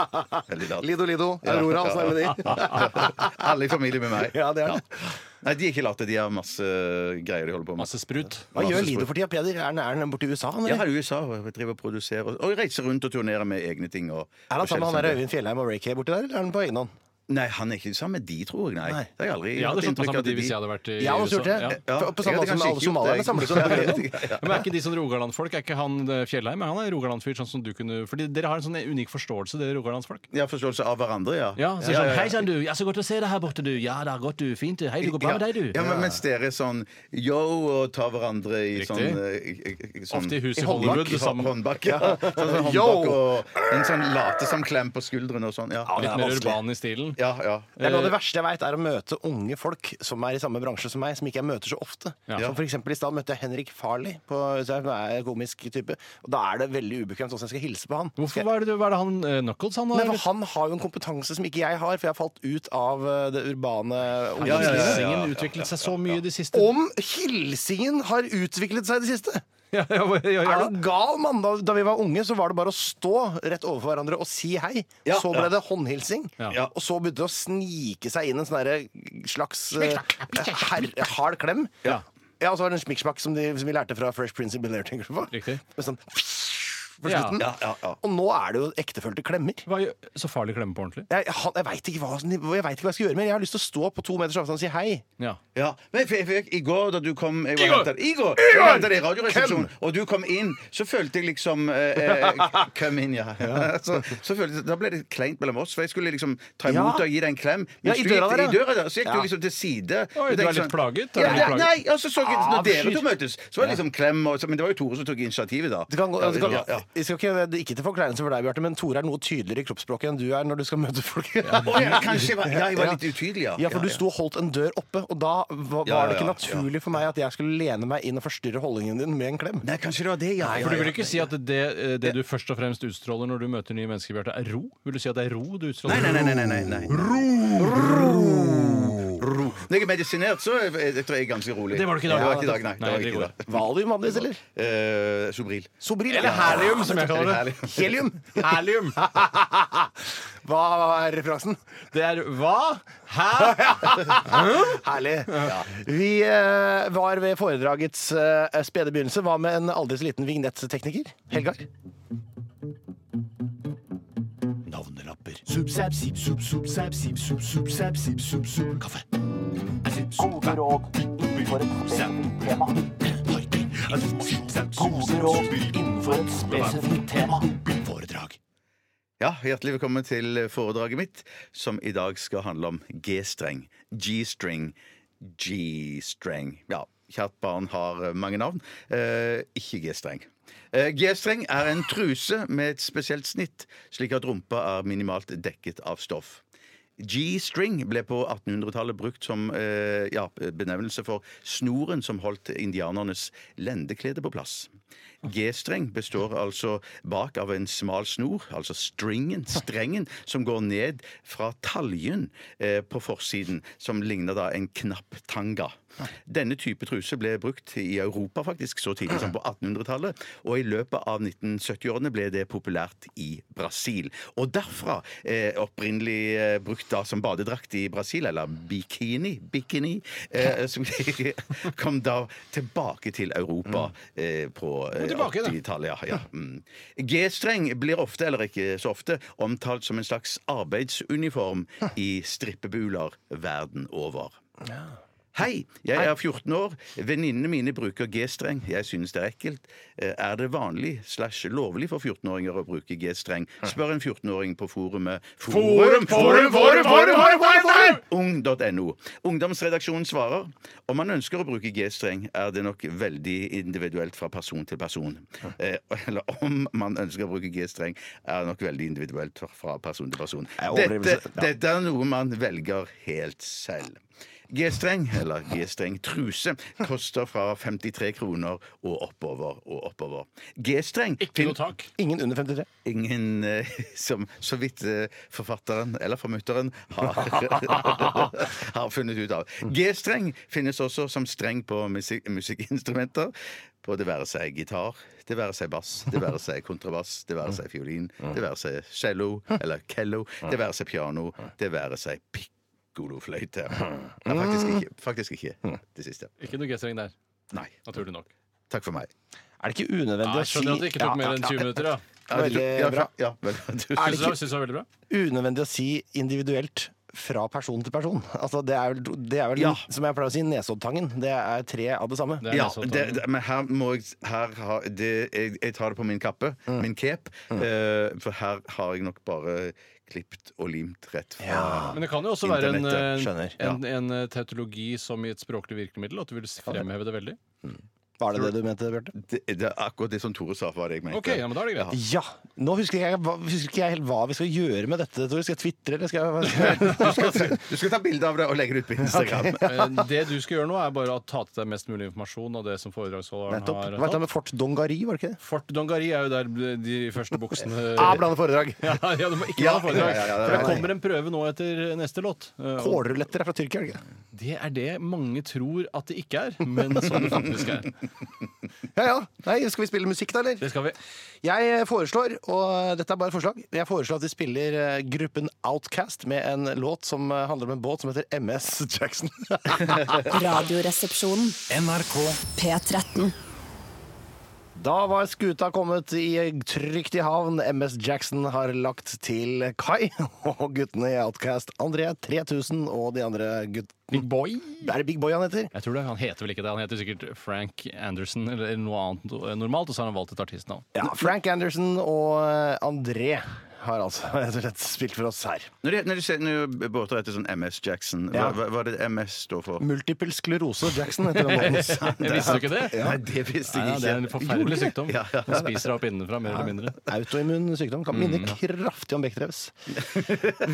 Veldig lat. Lido Lido, Aurora, åssen er det med de? Alle i familie med meg. Ja, det er det. Nei, de er ikke late. De har masse eh, greier de holder på med. Masse sprut. Hva Masse gjør spor- Lido for tida, Peder? Er han- er han borte i USA? Han, Ja, her eller? i USA og driver og produserer og, og reiser rundt og turnerer med egne ting. Og, er han sammen med han der Øyvind Fjellheim og Ray Kay borti der, eller er han på egen hånd? Nei, han er ikke sammen med de, tror jeg. Nei. Nei. Det har jeg aldri Jeg hadde hatt slått meg inntrykk sammen av med de at hvis jeg hadde vært i Jeg hadde gjort Ja. det. For- På samme jeg hadde måte som kanskje alle ikke gjort somalierne det. samles på Ja, egen hånd. ja, ja. Men er ikke de sånn Rogaland-folk? Er ikke han eh, Fjellheim? Han er Rogaland-fyr, sånn som du kunne Fordi dere har en sånn unik forståelse, dere Rogaland-folk. Ja, forståelse av hverandre, ja. Ja, så sånn, Hei sann, du. Ja, så godt å se deg her borte, du. Ja, det er godt, du. Fint, du. Hei, det går bra med deg, du. Ja, men Mens dere er sånn yo og tar hverandre i Riktig. sånn, eh, i- i- sånn Ofte i hus i håndbak, i Hollywood, hå- sammen. Håndbak, ja. Sånn, sånn Yo! håndbak og en sånn latesamklem på skuldrene og sånn. Ja, Litt mer urban i stilen. ja. ja. Det er noe av det verste jeg veit, er å møte unge folk som er i samme bransje som meg, som ikke jeg møter så ofte. Ja. Som for eksempel i stad møtte jeg Henrik Farley, på, så jeg er en komisk type. Og da er det veldig ubekvemt hvordan jeg skal hilse på han. Hvorfor Skal jeg- var det, var det han eh, Knuckles, han? Nei, eller? for Han har jo en kompetanse som ikke jeg har, for jeg har falt ut av eh, det urbane Ja, ja, ja, ja. Hilsingen utviklet seg så mye de siste Om hilsingen har utviklet seg i det siste! Ja, ja, ja, ja. Er du gal, mann? Da, da vi var unge, så var det bare å stå rett overfor hverandre og si hei. Ja, så ble det håndhilsing. Ja. Og så begynte det å snike seg inn en sånn derre slags eh, her- hard klem. Ja. Ja, og så var det en smikksmakk som, de- som vi lærte fra Fresh Prince of Bel-Air. tenker du på? Riktig. Med sånn på Ja. slutten. Ja, ja, ja. Og nå er det jo ektefølte klemmer. Hva gjør- Så farlig klemme på ordentlig? Jeg, han- jeg veit ikke, hva- jeg vet ikke hva jeg skal gjøre mer. Jeg har lyst til å stå på to meters avstand og si hei. Ja. Ja, men jeg fikk, I går da du kom jeg var Igor! hentet- Igor! Jeg var hentet deg i radioresepsjonen, og du kom inn, så følte jeg liksom eh, eh, Kom inn, ja. så, så følte jeg, Da ble det kleint mellom oss, for jeg skulle liksom ta imot Ja. deg og gi deg en klem. Ja, i Mens du døra gikk- der, ja. i døra der, så gikk Ja. du liksom til side. Oi, Så du tenkte er jeg litt plaget, er Ja, du ja, plaget? nei, og så så jeg når Avskyr. dere to møtes, så var det liksom klem, og, så- men det var jo Tore som tok initiativet da. Det kan, gå- det kan, Ja, ja. Jeg skal ikke, det er ikke til forkleinelse for deg, Bjarte, men Tore er noe tydeligere i kroppsspråket enn du er når du skal møte folk. Å, ja, kanskje jeg var, ja, jeg var litt utydelig, ja. Ja, for Ja, du ja. sto og holdt en dør oppe, og da var, Ja, ja, var det ikke ja, naturlig for meg at jeg skulle lene meg inn og forstyrre holdningen din med en klem. Nei, kanskje det var det, ja. ja, For du ja. vil ikke si at det, eh, det du først og fremst utstråler når du møter nye mennesker, Bjarte, er ro? Vil du si at det er ro du utstråler? Nei, nei, nei, nei, nei, nei, nei. Ro. Ro. Når jeg er medisinert, så er jeg, jeg tror jeg er ganske rolig. Det var du ikke i dag. Det var ikke i dag, nei. Nei, det var det ikke i går dag. Valium vanligvis, eller? Eh, Sobril. Sobril? Eller helium, som jeg kaller det. Helium! Helium! Hva er referansen? Det er hva? Hæ? Herlig. Vi eh, var ved foredragets eh, spede begynnelse. Hva med en aldri så liten vignettekniker? Helgar? Navnelapper. Subsap, sip, sup, subsap, sip, sup, subsap, sip, sup, sup. Kaffe. Gode råd innenfor et spesifikt tema. Gode råd innenfor et spesifikt tema. Foredrag. Ja, Hjertelig velkommen til foredraget mitt, som i dag skal handle om G-streng. G-string. G-streng. Ja, kjært barn har eh, mange navn. Eh, ikke G-streng. Eh, G-streng er en truse med et spesielt snitt, slik at rumpa er minimalt dekket av stoff. G-string ble på 1800-tallet brukt som eh, ja, benevnelse for snoren som holdt indianernes lendeklede på plass. G-streng består altså bak av en smal snor, altså stringen, strengen, som går ned fra taljen eh, på forsiden, som ligner da en knapptanga. Denne type truse ble brukt i Europa faktisk så tidlig som på 1800-tallet, og i løpet av 1970-årene ble det populært i Brasil. Og derfra eh, opprinnelig eh, brukt da som badedrakt i Brasil, eller bikini, bikini, eh, som kom da tilbake til Europa eh, på eh, Mm. tilbake, da. 80-tallet. Ja, ja. Mm. G-streng blir ofte, eller ikke så ofte, omtalt som en slags arbeidsuniform i strippebuler verden over. Hei, jeg er 14 år. Venninnene mine bruker G-streng. Jeg synes det er ekkelt. Eh, Er det vanlig slash lovlig for 14-åringer å bruke G-streng? Spør en 14-åring på forumet Forum, forum, forum, forum, forum, forum, forum! Ung.no. Ungdomsredaksjonen svarer om man ønsker å bruke G-streng, er det nok veldig individuelt fra person til person. Eh, eller om man ønsker å bruke G-streng, er det nok veldig individuelt fra person til person. Dette, overdrivelse, ja. dette er noe man velger helt selv. G-streng, eller G-streng truse, koster fra 53 kroner og oppover og oppover. G-streng Ikke noe tak. Ingen under 53. ingen eh, som så vidt eh, forfatteren eller formutteren har, har funnet ut av. Mm. G-streng finnes også som streng på musik musikkinstrumenter. På det være seg gitar, det være seg bass, det være seg kontrabass, det være seg fiolin, Mm. det være seg cello eller kello, det være seg piano, det være seg pikkolofløyte. Ja, faktisk ikke, faktisk ikke Mm. det siste. Ikke noe G-streng der, Nei. naturlig nok. Takk for meg. Er det ikke unødvendig Ja, å jeg si skjønner at det ikke tok Ja, mer enn ja, 20 ja. minutter. da Veldig Ja, bra. ja, vel, Er Syns det du det syns du det var veldig bra? Unødvendig å si individuelt fra person til person. Altså, det er vel, det er vel Ja. som jeg pleier å si, Nesoddtangen. Det er tre av det samme. Det er sånn- Ja, nesten å ta det, den. det, men her må jeg her har, det, jeg, jeg tar det på min kappe, min cape. eh, for her har jeg nok bare klipt og limt rett fra Men det kan jo også være en, internettet. skjønner. eh, en, en eh, tautologi som i et språklig virkemiddel. At du vil fremheve det veldig. Var det det du mente, Bjarte? det, det er akkurat det som Tore sa, var det jeg mente. Ok, ja, men da er det greit. Ja! Nå husker ikke jeg, hva- husker ikke jeg helt hva vi skal gjøre med dette. Tore. Skal jeg tvitre, eller skal jeg Du skal, ta- du skal ta bilde av det og legge det ut på Instagram. Eh, Det du skal gjøre nå, er bare å ta til deg mest mulig informasjon av det som foredragsholderen Nettopp. Hva har het det tatt. med Fort Dongari, var det ikke det? Fort Dongari er jo der de første buksene Ah, blande foredrag! ja, ja, du må ikke Ja, ha foredrag. ja, ja, ja, For det nei, nei. kommer en prøve nå etter neste låt. Eh, og Kålruletter er fra Tyrkia, er det ikke det? Det er det mange tror at det ikke er, men sånn det faktisk er. Ja ja. Nei, skal vi spille musikk, da, eller? Det skal vi. Jeg eh, foreslår, og dette er bare et forslag, jeg foreslår at vi spiller eh, gruppen Outcast med en låt som eh, handler om en båt som heter MS Jackson. Radioresepsjonen. NRK P13. Da var skuta kommet i trygt i havn. MS Jackson har lagt til kai. Og guttene i Outcast, André 3000 og de andre guttene Big Boy? Er det Big Boy han heter? Jeg tror det, Han heter vel ikke det, han heter sikkert Frank Anderson eller noe annet eh, normalt, og så har han valgt et artistnavn. Ja, Frank Anderson og eh, André har altså rett og slett spilt for oss her. Når de, når de, ser- når de båter etter sånn MS Jackson, hva, Ja. hva, hva er det MS står for? Multiple sklerose Jackson heter den båten. Jeg visste jo ikke det. Nei, det visste Nei, ja, jeg det er en ikke. forferdelig sykdom. Ja, ja. Den spiser deg opp innenfra, mer eller mindre. Autoimmun sykdom kan minne kraftig om Bechdrevs.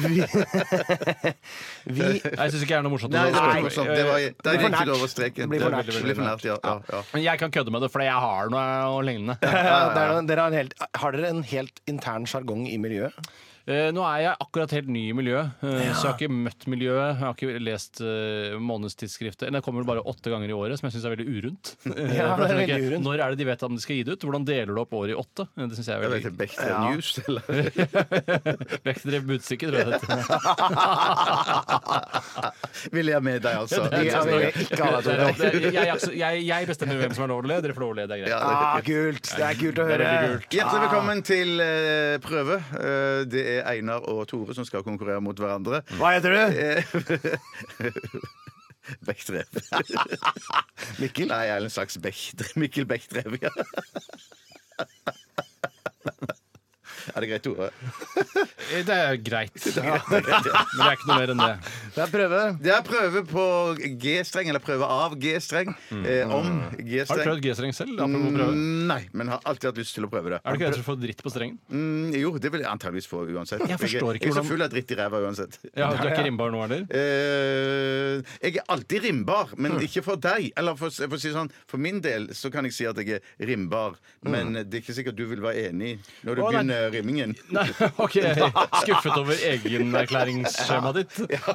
Vi, vi Nei, Jeg syns ikke det er noe morsomt. å Nei, det var spørre. ikke noe sånt. Det var, der blir for gikk nært. du over Det streken. blir for nært. Det blir for nært, ja, ja, ja. Men jeg kan kødde med det fordi jeg har noe og lignende. Ja, det er noe- dere har, en helt, har dere en helt intern sjargong i miljøet? Eh, Nå er jeg akkurat helt ny i miljøet, eh, så jeg har ikke møtt miljøet. Jeg har ikke lest eh, månedstidsskriftet. Eller, Det kommer vel bare åtte ganger i året, som jeg syns er veldig urundt. Eh, Ja, for det er veldig jeg skjønner ikke, urundt. Når er det de vet at de skal gi det ut? Hvordan deler du opp året i åtte? Eh, Det syns jeg er Jeg vet veldig ikke, Bechdel News, eller? Vektdrev budstikke, tror jeg det heter. Vil jeg med deg, altså? det er- vil jeg ikke ha deg, Tore. Det er- det er- jeg- jeg- Jeg jeg bestemmer hvem som er lov til å le, dere får lov til å le, det er greit. Ja, det- Ah, kult! Det er kult å Det er høre. veldig kult. eh, Hjertelig velkommen til eh, prøve. Eh, det er Einar og Tore som skal konkurrere mot hverandre. Eh, Hva heter du? Bechtrev. Mikkel? Nei, jeg er en slags Bechtrev. Mikkel Bechtrev, ja. Er det greit, Tore? Eh, Det er greit. Men det er ikke noe mer enn det. Det er prøve. Det er prøve på G-streng, eller prøve av G-streng. Eh, om G-streng. Har du prøvd G-streng selv? Apropos prøve. Mm, Nei, men har alltid hatt lyst til å prøve det. Er du ikke redd for å få dritt på strengen? Mm, jo, det vil jeg antageligvis få uansett. Jeg forstår ikke Jeg er så hvordan- full av dritt i ræva uansett. Ja, Du er ikke rimbar nå, eller? Eh, jeg er alltid rimbar, men Mm. ikke for deg. Eller for, for å si det sånn, for min del så kan jeg si at jeg er rimbar, men det er ikke sikkert du vil være enig når du Mm. Å, nei. begynner rimmingen. Nei, OK. Skuffet over egenerklæringsskjemaet ditt. Ja,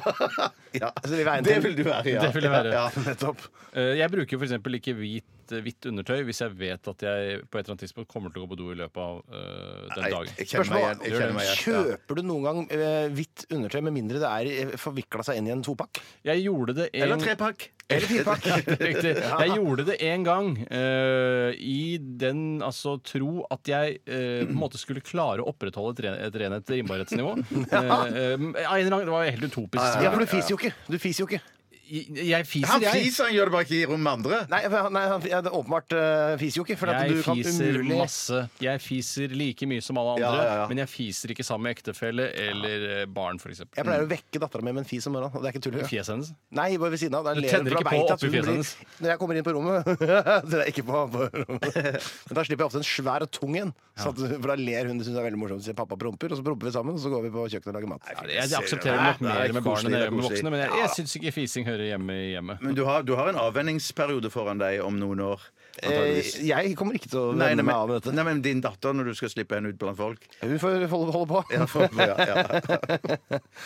Altså, vi veien det til- vil du være, ja. Det vil jeg være. Ja. Nettopp. Eh, Jeg bruker f.eks. ikke hvit, eh, hvitt undertøy hvis jeg vet at jeg på et eller annet tidspunkt kommer til å gå på do i løpet av eh, den Nei, dagen. Jeg kjenner meg igjen. Jeg kjenner meg igjen. Ja. Kjøper du noen gang eh, hvitt undertøy med mindre det er forvikla seg inn i en topakk? Jeg gjorde det en Eller trepakk. Eller firepakk? Riktig. Jeg gjorde det en gang eh, i den altså tro at jeg eh, på en måte skulle klare å opprettholde et, ren, et renhet rimbarhetsnivå. Eh, eh, av en eller annen- det var helt utopisk. Ja, for du fiser jo ikke. Du fiser jo ikke. Jeg, jeg Han fiser, jeg. fiser, han gjør det bare ikke i rom med andre. Nei, for han- nei han, ja, det er åpenbart eh, fiser jo ikke. For at Jeg du kan fiser umulig masse. Jeg fiser like mye som alle andre, Ja, ja, ja. men jeg fiser ikke sammen med ektefelle eller eh, barn, f.eks. Jeg pleier å vekke dattera mi med en fis om morgenen. og Det er ikke tull. engang. Fjeset hennes. Nei, bare ved siden av. Der Du ler hun, tenner for ikke da vet jeg på at hun oppi fjeset blir- hennes? Når jeg kommer inn på rommet Det er ikke på, på rommet. Men da slipper jeg ofte en svær og tung en. sånn at- For da ler hun. Det syns jeg er veldig morsomt. Så sier pappa promper, og så promper vi sammen, og så går vi på kjøkkenet og lager mat. Ja, Jeg, jeg aksepterer nok Nei, det mer er med barn enn koselig, jeg gjør med det er voksne, men jeg, jeg syns ikke fising hører hjemme i hjemmet. Men du har, du har en avvenningsperiode foran deg om noen år. Eh, antageligvis. jeg kommer ikke til å Nei, vende nei, meg av med men, dette. nei, men din datter når du skal slippe henne ut blant folk. Hun får holde, holde på. Ja, for, ja, ja.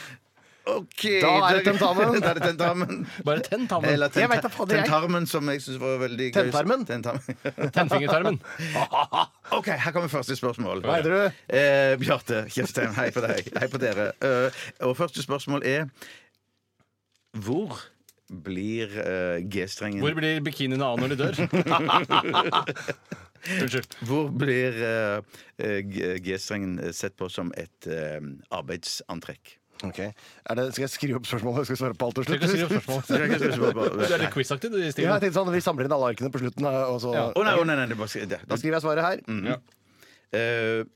OK. Da er det tentamen. da er det tentamen. Bare tenn tammen. Eller Jeg vet da fader, jeg. tentarmen, som jeg syns var veldig gøy. Tentarmen? Tentarmen. Tennfingertarmen. OK, her kommer første spørsmål. Hva heter du? Eh, Bjarte Tjøstheim, hei på deg. Hei på dere. Eh, og første spørsmål er Hvor blir eh, G-strengen Hvor blir bikinien av når de dør? Unnskyld. Hvor blir eh, eh, G- G-strengen sett på som et eh, arbeidsantrekk? Ok. Er det, skal jeg skrive opp spørsmålet? Skal jeg svare på alt til Du kan skrive slutt? spørsmål. Du er litt quizaktig, du, Ja, jeg Stigen. tenkte sånn, Vi samler inn alle arkene på slutten. Og så, Å nei, å nei, nei, det bare, det, Da skriver jeg svaret her. Mm. Eh,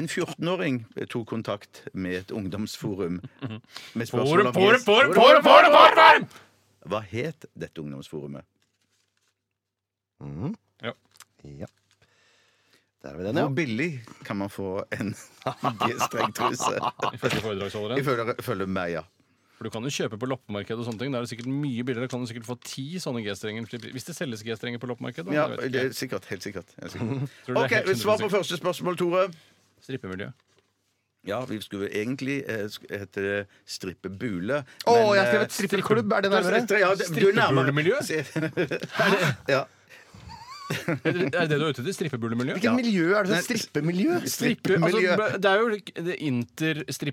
en 14-åring tok kontakt med et ungdomsforum. Med spørsmål Mhm. Forum, om forum, G- forum, forum, forum, forum! Hva het dette ungdomsforumet? Ja. Der har vi den, ja. Hvor billig kan man få en G-streng-truse? Ifølge foredragsholderen. Ifølge følge meg, ja. For du kan jo kjøpe på loppemarked og sånne ting. Da er det sikkert mye billigere. Da Kan du sikkert få ti sånne G-strenger Hvis det selges G-strenger på loppemarked, da. ja Jeg vet det ikke. er sikkert. Helt sikkert. Helt sikkert. Tror du det OK, er helt svar på 100% første spørsmål, Tore. Strippemiljø. Ja, vi skulle egentlig eh, sk- hete det strippebule. Å, men, jeg har eh, skrevet strippeklubb. Er det nærmere? Ja, det- du er nærmere. Strippebulemiljø? Ja. Er det er det du er ute etter? Strippebulemiljø? Hvilket miljø er det? Nei, sånn Strippemiljø? Strippe, altså, Strippemiljø. b- det er jo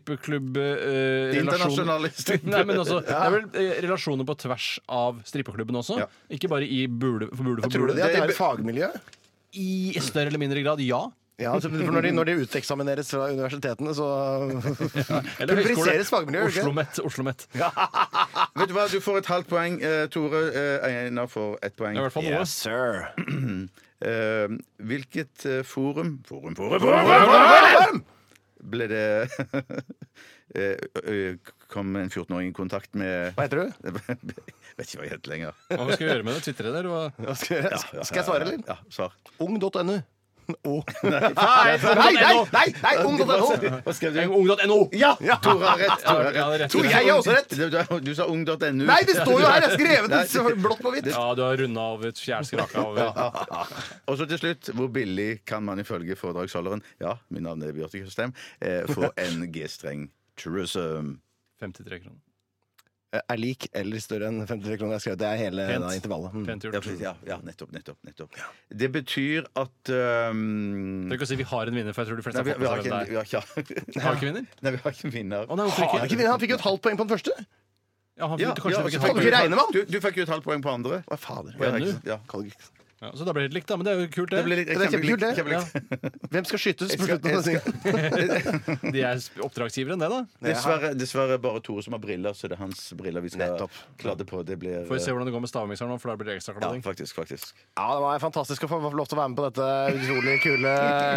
det interstrippeklubb-relasjonen Internasjonale strippe- Nei, men altså, Det er vel eh, relasjoner på tvers av strippeklubben også? Ja. Ikke bare i bule for bule for Tror du bule? det at det er et fagmiljø? I større eller mindre grad, ja. Ja, altså, for når de, når de uteksamineres fra universitetene, så Eller høyskole. Publiseres fagmiljø, ikke? Oslomet. Oslomet. Vet du hva, du får et halvt poeng, eh, Tore. Eh, Einar får ett poeng. Det er i hvert fall noe. sir. Eh, hvilket eh, forum Forum, forum, forum, Ble det eh, ø- Kom en 14-åring i kontakt med Hva heter du? Vet ikke hva jeg heter lenger. Hva skal vi gjøre med det? Twitre det, eller hva? Hva skal, jeg, gjøre? Ja, skal jeg svare, eller? Ja, svar. Ung.no. Å. Nei, Nei, nei, nei! nei Ung.no! Hva skrev du? Ung.no! Ja! Tore har rett. Tore har Ja, det er rett. rett. Tore, Jeg har også rett. Du, du- du sa ung.no. Nei, det står jo her! Jeg har skrevet det så blått på hvitt. Ja, du har runda av et fjærskrake av Og så til slutt, hvor billig kan man ifølge foredragsholderen Ja, mitt navn er Bjarte Tjøstheim. Eh, få en G-streng truism. 53 kroner. Er lik eller større enn 53 kroner. Jeg har skrevet det er hele Pent. da, intervallet. Mm. Pent Ja, gjort. precis. ja, ja, nettopp, nettopp, nettopp. Det betyr at ehm, Trenger ikke å si vi har en vinner, for jeg tror de fleste Nei, vi, har vi har fått med ikke seg en hvem det vi har ikke, er. Har vi ikke vinner? Nei, vi har ikke en vinner. Å nei, hvorfor Har ikke ikke? vi- Han fikk jo et halvt poeng på den første. Ja, han Ja, fikk, kanskje ja, så fikk fikk et halvt du- poeng. Regner man? Du, du fikk jo et halvt poeng på andre. Hva fader? Ja, Ja, ikke sant? Ja. Kan du ikke- Ja, så da ble det likt, da. Men det er jo kult, det. Det blir litt- Det er kjempekult, det. kjempelikt. Hvem skal skytes? på slutten av Jeg sendingen? skal- jeg skal- De er sp- oppdragsgivere enn det, da. Dessverre, dessverre bare Tore som har briller, så det er hans briller vi skal Nettopp. kladde på. Det blir Får vi se hvordan det går med stavmikseren nå, for da blir det ekstra ja, kladding. faktisk, faktisk. Ja, Det var fantastisk å få lov til å være med på dette utrolig kule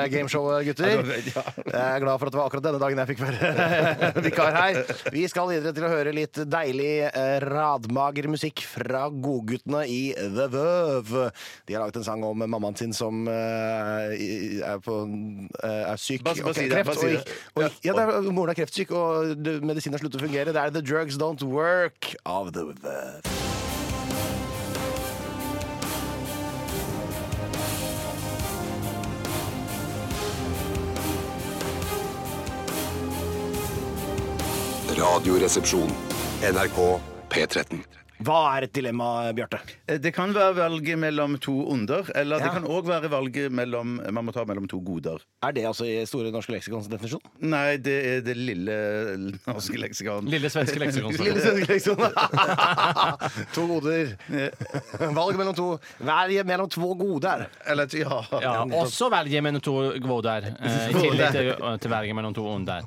gameshowet, Ja, gutter. det var- ja. Jeg er glad for at det var akkurat denne dagen jeg fikk være vikar her. Vi skal videre til å høre litt deilig eh, radmager musikk fra godguttene i The Verve. De har laget en sang om mammaen sin som eh, i- er, på, eh, er syk. Bare- bare Ok, si det, kreft, bare si og det. gikk- og gikk- ja, det er, moren er kreftsyk, og du- medisinen har sluttet å fungere. Det er The Drugs Don't Work av The Verve. Radioresepsjon. NRK P13. Hva er et dilemma, Bjarte? Eh, Det kan være valget mellom to onder, eller det Ja. kan òg være valget mellom Man må ta mellom to goder. Er det altså i Store norske leksikons definisjon? Nei, det er det lille norske leksikon. Lille svenske leksikon. Lille svenske leksikon. to goder. Valg mellom to. Vær mellom to goder. Eller, ja. Ja, også velge mellom to goder. eh, I tillegg til, til velge mellom to onder.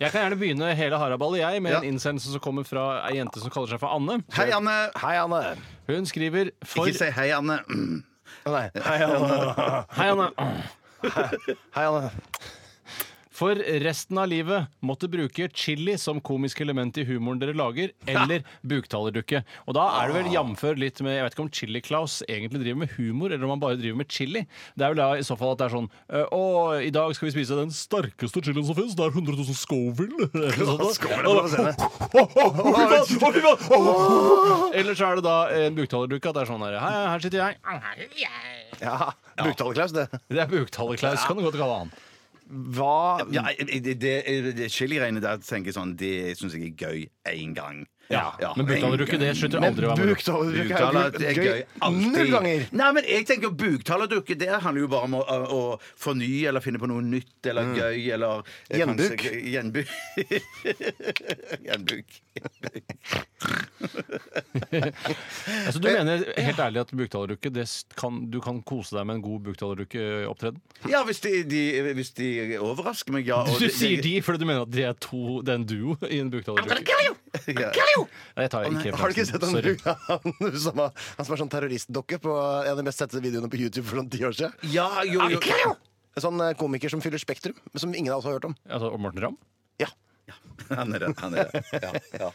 Jeg kan gjerne begynne hele haraballet, jeg, med Ja. en innsendelse som kommer fra ei jente som kaller seg for Anne. Hei, Anne! Hei, Anne. Hun skriver for Ikke si hei, Anne. Nei. Hei, Anne. Hei, Anne. Hei, Anne. For resten av livet måtte bruke chili som komisk element i humoren dere lager, eller buktalerdukke. Og da er det vel jamfør litt med Jeg vet ikke om Chili-Klaus egentlig driver med humor, eller om han bare driver med chili. Det er vel da i så fall at det er sånn «Eh, Å, i dag skal vi spise den sterkeste chilien som fins. Det er 100 000 Scoville. Eller noe sånt da. Å, Eller så er det da en buktalerdukke at det er sånn her Hei, her sitter jeg. Ja, Buktaleklaus, det. Det er Buktaler-Klaus, kan du godt kalle han. Hva Ja, det, det, det- det chiliregnet der tenker jeg sånn Det syns jeg er gøy én gang. Men en buktalerdukke, det gang. slutter aldri å være moro. Buktaledukke Buktaler er gøy alltid. null ganger. Nei, men jeg tenker Buktalerdukke det handler jo bare om å, å, å fornye eller finne på noe nytt eller gøy eller eh, Gjenbruk. kanskje- Mm. Gjenbruk. Gjenbruk. Altså, du mener helt ærlig at buktalerdukke det s- kan, Du kan kose deg med en god buktalerdukke-opptreden? Ja, hvis de, de, hvis de overrasker meg, ja. og Du det- sier de fordi du mener at de er to, det er en duo i en buktalerdukke? Ja. Nei, jeg tar Å, nei, ikke Har du ikke sett han, Sorry. han, som har, han som er sånn terroristdokke på en av de mest sette videoene på YouTube for sånn ti år siden? Ja, jo, jo. Sånn eh, komiker som fyller Spektrum, som ingen av oss har hørt om. Altså, og Morten Ramm? Ja. Han er det. Han er det. Ja, ja.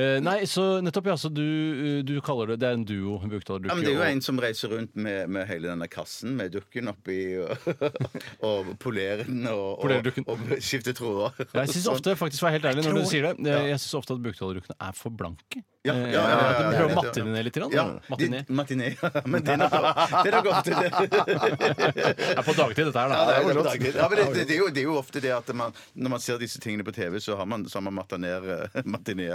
Eh, nei, så nettopp, ja. Så du, eh, du kaller det Det er en duo, buktalerdukke ja, men Det er jo og- en som reiser rundt med, med hele denne kassen med dukken oppi og, og polerer den og, Polerer og, dukken. og skifter tråder. Jeg syns Sånn. ofte, faktisk, for å være helt ærlig når du tror- sier det, Ja. jeg, jeg synes ofte at buktalerdukkene er for blanke. Ja, ja, ja, Eh, ja, at ja, de ja, prøver å ja. matte det ned litt. Grann. Ja, Matte de- ned. matiné. ja, Men det er nok- det er nok ofte det. Det er på dagtid, dette Ja, det her, da. er jo dagtid. Ja, men det, det, det, er jo, det er jo ofte det at man, når man ser disse tingene på TV, så har man, så har man matiné- matiné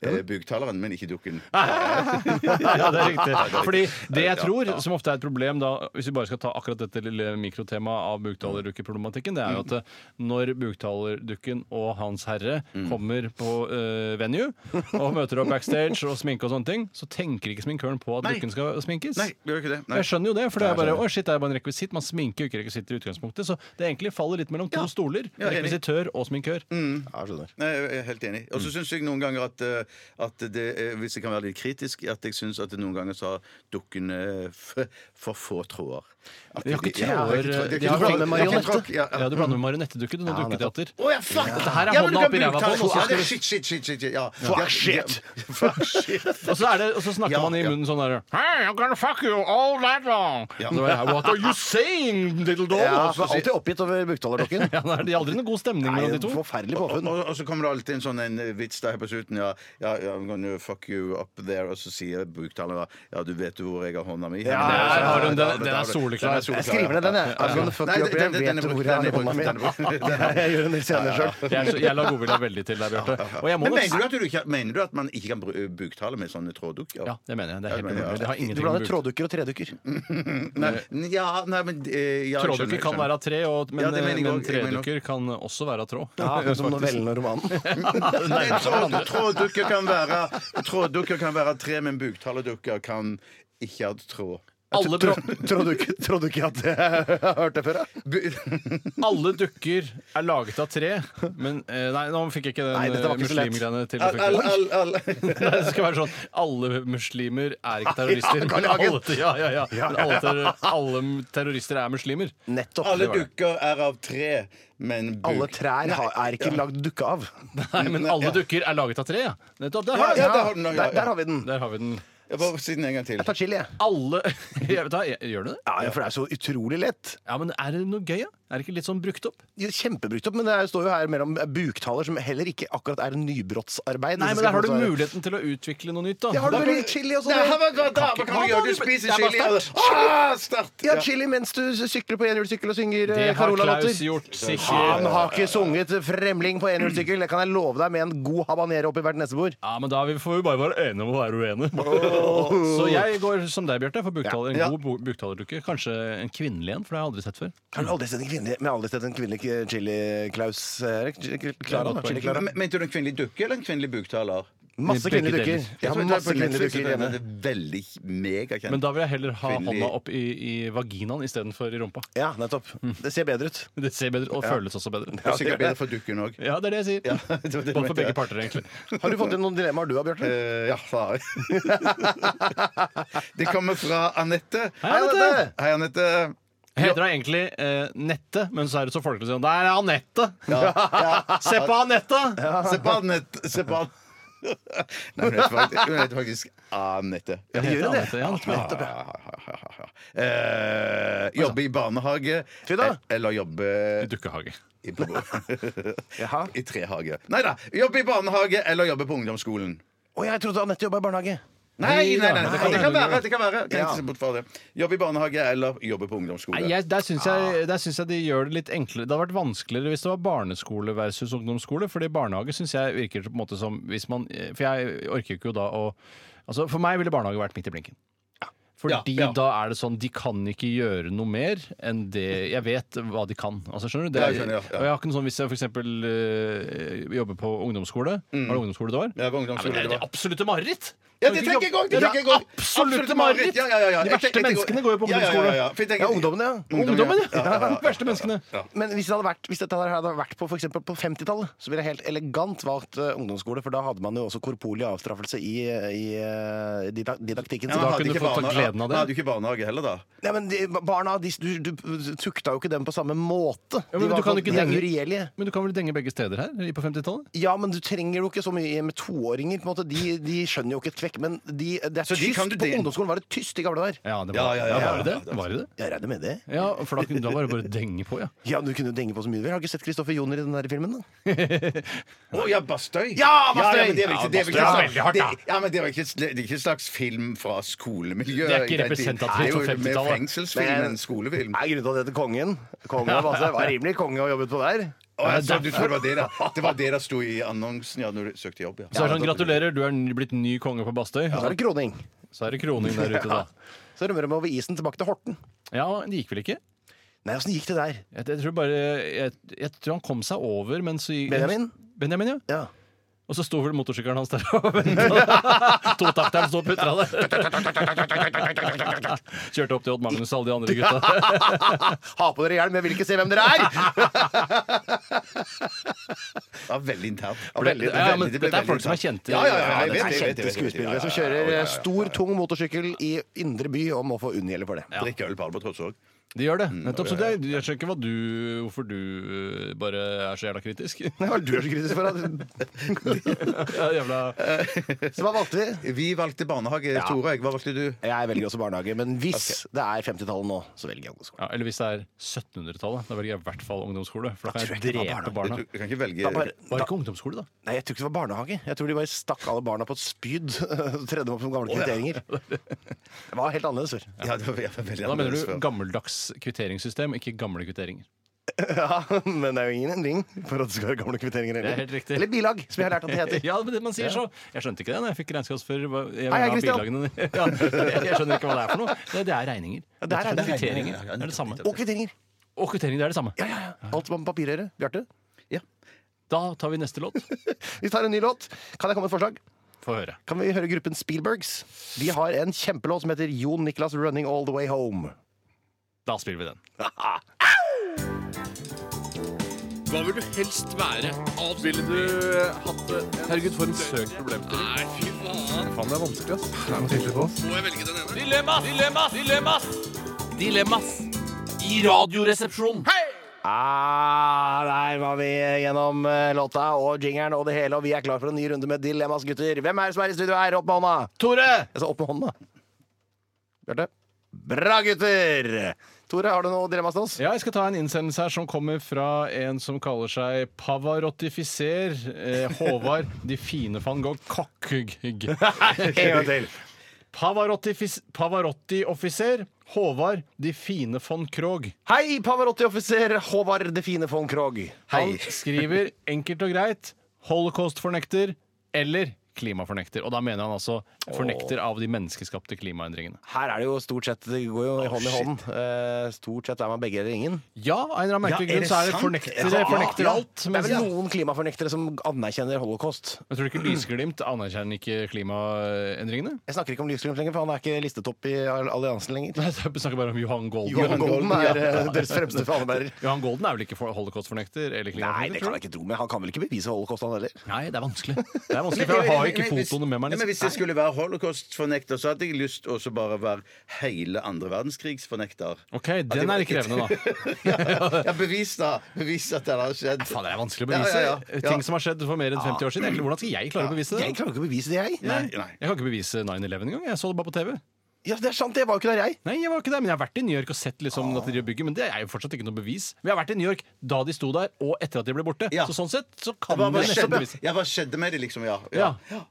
eh, buktaleren, men ikke dukken. ja, det er riktig. Fordi det jeg Ja, tror, ja. som ofte er et problem, da, hvis vi bare skal ta akkurat dette lille mikrotemaet av buktalerdukke-problematikken, det er jo at eh, når buktalerdukken og Hans Herre Mm. kommer på eh, venue og møter opp backstage og sminke og sånne ting, så tenker ikke sminkøren på at Nei. dukken skal sminkes. Nei, det gjør ikke det. Nei. Jeg skjønner jo det, for det er Nei, jeg bare skjønner. å shit, det er bare en rekvisitt. Man sminker jo ikke rekvisitter i utgangspunktet, så det egentlig faller litt mellom to stoler. Ja, enig. Mm. Rekvisitør og sminkør. Ja, skjønner. Nei, jeg er helt enig. Og så syns jeg noen ganger at, eh, at det, eh, hvis jeg kan være litt kritisk, at jeg syns at noen ganger så har dukkene f- for få tråder. At De har ikke ja, tråder. de har ikke de har- tråd- blander de har ikke marionette. tråd- Ja, ja. Ja, du blander med marionettedukken og dukketeater. Å ja, fuck! Dette her er ja, men hånda du kan opp i bruke ræva på den, tall- og så Ja, skal det er du- shit, shit, shit, shit. Ja. Fuck Ja, shit. ja, Fuck shit. Og så, er det, og så snakker Ja, man i ja. munnen sånn der Hey, I'm gonna fuck you all night long. Ja. Så er jeg, What are you saying, little doll? Ja, Og for så sier- alltid oppgitt over buktalerdokken. ja, da er det aldri noen god stemning Nei, mellom de to. forferdelig Og, påfunn. og, og så kommer det alltid en sånn en vits der på slutten. Ja, ja, ja, I'm gonna fuck you up there. Og så sier buktaleren ja, du vet jo hvor jeg har hånda mi. Ja, men det der har du den. Den- ja, den det er har du. soleklar. Den er Jeg skriver ned den, jeg. I'm gonna fuck Nei, you up, den- jeg den- den vet er hvor brukt, jeg har den er hånda mi. brukt, den er brukt. Jeg gjør en litt senere sjøl. Jeg, er så, jeg lar godvilja veldig til der, Bjarte. Og jeg Men må nok- mener du, at du ikke, mener du at man ikke kan bru- buktale med sånne tråddukker? Ja, det mener jeg. Det er Ja, helt men, ja. umulig. Det har Du ingenting blander med bruk. tråddukker og tredukker. Nei, ja, nei, men eh, ja, jeg skjønner, Tråddukker kan skjønner. være av tre, og, men, Ja, det mener jeg men også. Jeg mener tredukker kan også være av tråd. Ja, som novellen og romanen. Nei, tråd- Tråddukker kan være Tråddukker kan være tre, men buktalerdukker kan ikke ha tråd. Alle, Trå- duk- Trodde du ikke- trodde du ikke at jeg har hørt det før? da? alle dukker er laget av tre, men eh, Nei, nå fikk jeg ikke Nei, den dette eh, var ikke så lett. muslimgreiene til. å Al, al, al, funke. al. Nei, det skal være sånn Alle muslimer er ikke terrorister. Ja, Carl Men Hagen. alle, ja, ja, ja. Ja, Men ja, alle, terror- alle terrorister er muslimer. Nettopp. Alle det var det. dukker er av tre, men buk. Alle trær har, er ikke lagd dukke av. Nei, men alle dukker er laget av tre, ja. Nettopp. Der Ja, har, ja, vi der har du den. ja, Der, der ja. har vi den. den. der har vi den. Jeg bare si den en gang til. Jeg tar chili, jeg. Alle jeg vet, da, jeg- Gjør du det? Ja, for det er så utrolig lett. Ja, men er det noe gøy, da? Er det ikke litt sånn brukt opp? Kjempebrukt opp, men det er- står jo her mellom buktaler, som heller ikke akkurat er nybrottsarbeid. Nei, Hvis jeg men der skal har du få svare. muligheten til å utvikle noe nytt, da. Ja, har du Da- vel chili og Nei, her sånn? var- hva- da- hva kan du gjøre? Du spiser chili og ah, start. Ja, chili mens du sykler på enhjulssykkel og synger det eh, har Carola-låter. Klaus gjort, Han sikkert. har ikke sunget 'Fremling' på enhjulssykkel. Det kan jeg love deg med en god habanero oppi hvert nesebor. Ja, men da får vi bare være enige om å være uenige. Så jeg går som deg, Bjarte, for buktaler. En god bu- buktalerdukke. Kanskje en kvinnelig en, for det har jeg aldri sett før. Har du aldri sett en kvinnelig, men jeg har aldri sett en kvinnelig eh, chili-Klaus? eh, Chili Clara, da. Chili Clara. Men- Mente du en kvinnelig dukke eller en kvinnelig buktaler? Masse Begge kvinnelige deler. dukker. Jeg Jeg har tror masse det er på kvinnelige Netflix, dukker så den hjemme. er Veldig megakjent. Men da vil jeg heller ha Kvinnelig- hånda opp i, i vaginaen istedenfor i rumpa. Ja, nettopp. Mm. Det ser bedre ut. Det ser bedre og føles også bedre. Det er sikkert bedre for dukken òg. Ja, det er det jeg sier. det var det jeg Både for mente. begge parter, egentlig. Har du fått inn noen dilemmaer du, da, Bjarte? Eh, ja, far. det kommer fra Anette. Hei, Anette! Hei, Anette. Heter hun egentlig eh, Nette, men så er det så folkelig å si Det er Anette! Se på Anette! Se på Anette. Se på An- Nei, hun heter faktisk, hun heter faktisk Anette. Ja, gjør heter det. Anette, ja, nettopp, ja. Eh, jobbe i barnehage. Eh, Fy da. Eller jobbe I Dukkehage. i, på- i trehage. Nei da! Jobbe i barnehage eller jobbe på ungdomsskolen. Å, jeg trodde Anette jobba i barnehage. Nei, nei, nei, nei, Nei, Det kan være. det kan være Kan Ja. ikke se bort fra det Jobbe i barnehage eller jobbe på ungdomsskole. Nei, jeg, der syns Ah. jeg, der syns jeg de gjør det litt enklere. Det hadde vært vanskeligere hvis det var barneskole versus ungdomsskole. Fordi barnehage syns jeg virker på en måte som hvis man For jeg orker jo ikke da å Altså, for meg ville barnehage vært midt i blinken. Fordi Ja, ja. da er det sånn De kan ikke gjøre noe mer enn det Jeg vet hva de kan. Altså, skjønner du? Det Ja, er, jeg skjønner, ja, ja. Og jeg har ikke noe sånn Hvis jeg f.eks. Øh, jobber på ungdomsskole Var det ungdomsskole det Mm. var? Ja, på Nei, ungdomsskole, men det er det det absolutte mareritt! Ja, de tenker jeg òg! Ja, De tenker jeg òg. absolutte mareritt! Ja, ja, ja, ja. De Jeg verste tenker- menneskene går jo på Ja, ja, ja, ungdomsskole. ja, for jeg tenker- Ja, ungdommene, ja. Ungdommen, Ja, ja, ja, ja! ja. De verste menneskene. Men hvis, det hadde vært, hvis dette her hadde vært på for eksempel på 50-tallet, så ville jeg helt elegant valgt eh, ungdomsskole, for da hadde man jo også korporlig avstraffelse i, i eh, dida- didaktikken. Ja, sin. men da hadde ikke kunne du fått ta barnehage- gleden av det. Hadde jo ikke barnehage heller, da. Nei, men de, barna, de, du, du tukta jo ikke dem på samme måte. Ja, de men du var på- kan de ikke er denge- uregjerlige. Men du kan vel denge begge steder her i- på 50-tallet? Ja, men du trenger jo ikke så mye med toåringer. på en måte. De, de skjønner jo ikke et kvekk. Men de, det er Så de tyst kan du på del- ungdomsskolen. Var det tyst i gamle dager? Ja, det Ja, ja, ja, ja. var det det? Var det det? Jeg regner med det. Ja, for da, kunne- da var det bare å denge på, ja. Ja, men Du kunne jo denge på så mye du vil. Har du ikke sett Kristoffer Joner i den der filmen? da? Å ja, Bastøy! Ja, Bastøy! men det er vel ikke, det er vel Ja, ikke, Bastøy er veldig hardt, da. det, ja, men det er vel ikke, det er ikke en slags film fra skolemiljøet. Det i den er ikke tiden. representativt Det for er jo mer 50-tallet. fengselsfilm enn skolefilm. Nei, grunnen til at det heter Kongen. Kongen av Vasse. Var rimelig konge å jobbe på der. Å, Eh, jeg så, du tror det var det der. Det var det der sto i annonsen ja, når du søkte jobb. Ja. Så er det sånn, gratulerer, du er ny- blitt ny konge på Bastøy. Så er det kroning. Så er det kroning der ute, da. Så rømmer de over isen tilbake til Horten. Ja, det gikk vel ikke? Nei, åssen gikk det der? Jeg, jeg tror bare jeg, jeg tror han kom seg over, men så gikk Benjamin? Benjamin, ja. Ja. Og så sto vel motorsykkelen hans der og venta. Totakteren sto og putra der. Kjørte opp til Odd Magnus og alle de andre gutta. Ha på dere hjelm, jeg vil ikke se hvem dere er! Ja, veldig internt. ble- veldig- ja, men veldig- det ble dette er veldig folk som er internt. kjente- Ja, ja, ja, jeg Det vet er jeg vet, jeg kjente vet, jeg vet. skuespillere som Ja, ja, ja, ja, ja. eh, kjører stor, tung motorsykkel i indre by og må få unngjelde for det. Drikke øl på Albatross òg. De gjør Mm, det. Nettopp. Så det, er- jeg skjønner ikke hva du, hvorfor du eh, bare er så jævla kritisk. Nei, Hva er det du er så kritisk for? da? Ja, jævla Så hva valgte vi? Vi valgte barnehage, Tore. Hva valgte du? Jeg velger også barnehage, men hvis det er 50-tallet nå, så velger jeg ungdomsskolen. Ja, eller hvis det er 1700-tallet. Da velger jeg i hvert fall ungdomsskole. For da kan tror jeg jeg ikke det var drepe barna. barna. Du kan ikke velge Da bare- Var det ikke ungdomsskole, da? Nei, jeg tror ikke det var barnehage. Jeg tror de bare stakk alle barna på et spyd. og Tredde dem opp som gamle kvitteringer. Det var helt annerledes før. Ja, det var det var veldig Da mener annerledes du før. gammeldags kvitteringssystem, ikke gamle kvitteringer. Ja, men det er jo ingen endring for at det skal være gamle kvitteringer Det er heller. helt riktig. Eller bilag, som jeg har lært at det heter. Ja, men det man sier så Jeg skjønte ikke det da jeg fikk regnskapsfører. hva- Jeg, vil Hei, hei, ha Christian. bilagene. ja, jeg, jeg skjønner ikke hva det er for noe. Det, det er regninger. det er Rett og slett regninger. kvitteringer. Det er det samme. Og kvitteringer. Og kvitteringer det er det samme. Ja, ja, ja. Alt som har med papir å gjøre. Bjarte? Da tar vi neste låt. Vi tar en ny låt. Kan jeg komme med et forslag? Få høre. Kan vi høre gruppen Spielbergs? De har en kjempelåt som heter Jon Niklas Running All The Way Home. Da spiller vi den. eh, Dilemmas! Dilemmas! Dilemmas! Dilemmas i Radioresepsjonen. Ah, der var vi gjennom eh, låta og jingeren og det hele, og vi er klar for en ny runde med Dilemmas, gutter. Hvem er det som er i studio her? Opp med hånda! Tore! Jeg sa Altså, opp med hånda. Bjarte? Bra, gutter! Tore, har du noe dilemmas til oss? Ja, jeg skal ta en innsendelse her som kommer fra en som kaller seg Pavarottifiser. Eh, Håvard De Fine van Gogh Kokkugg. En gang til. Pavarottifis- Pavarotti-offiser Håvard De Fine von Krogh. Hei, Pavarotti-offiser Håvard De Fine von Krogh. Han skriver enkelt og greit holocaust-fornekter eller klimafornekter. Og da mener han altså fornekter av de menneskeskapte klimaendringene. Her er det jo stort sett Det går jo hånd i hånd. Eh, stort sett er man begge eller ingen. Ja, av en eller annen merkelig Ja, er grunn det så er det sant? fornektere Ja, fornekter ja. alt. Det Men er vel noen klimafornektere som anerkjenner holocaust. jeg tror ikke Lysglimt anerkjenner ikke klimaendringene. Jeg snakker ikke om Lysglimt lenger, for han er ikke listetopp i alliansen lenger. Nei, Jeg snakker bare om Johan Golden. Johan Golden er eh, deres fremste fanebærer. Johan Golden er vel ikke for- holocaust-fornekter? eller Nei, det kan klimafornekter, tror du? jeg ikke tro, men han kan vel ikke bevise holocaust, han heller? Nei, det er vanskelig. Det er vanskelig, For jeg har ikke Men hvis- fotoene med meg. Ja, men liksom. hvis jeg skulle være holocaust-fornekter, så hadde jeg lyst til å bare være hele andre verdenskrigs-fornekter. OK, den er litt krevende, da. Ja, bevis da! Bevis at det har skjedd. Faen, det er vanskelig å Ja, bevise ja, ja. ting som har skjedd for mer enn 50 år siden. Egentlig, Hvordan skal jeg klare å bevise det? Jeg klarer ikke å bevise det, jeg. Nei, nei. Jeg kan ikke bevise 9-11 engang. Jeg så det bare på TV. Ja, det er sant, jeg var jo ikke der, jeg. Nei, jeg var ikke der, men jeg har vært i New York og sett liksom at de driver og bygger, men det er jo fortsatt ikke noe bevis. Vi har vært i New York da de sto der, og etter at de ble borte. Ja. Så sånn sett så Ja, kan Hva, vi hva, nesten skjedde? bevise Ja, hva skjedde med det, liksom? Ja. sånn Ja.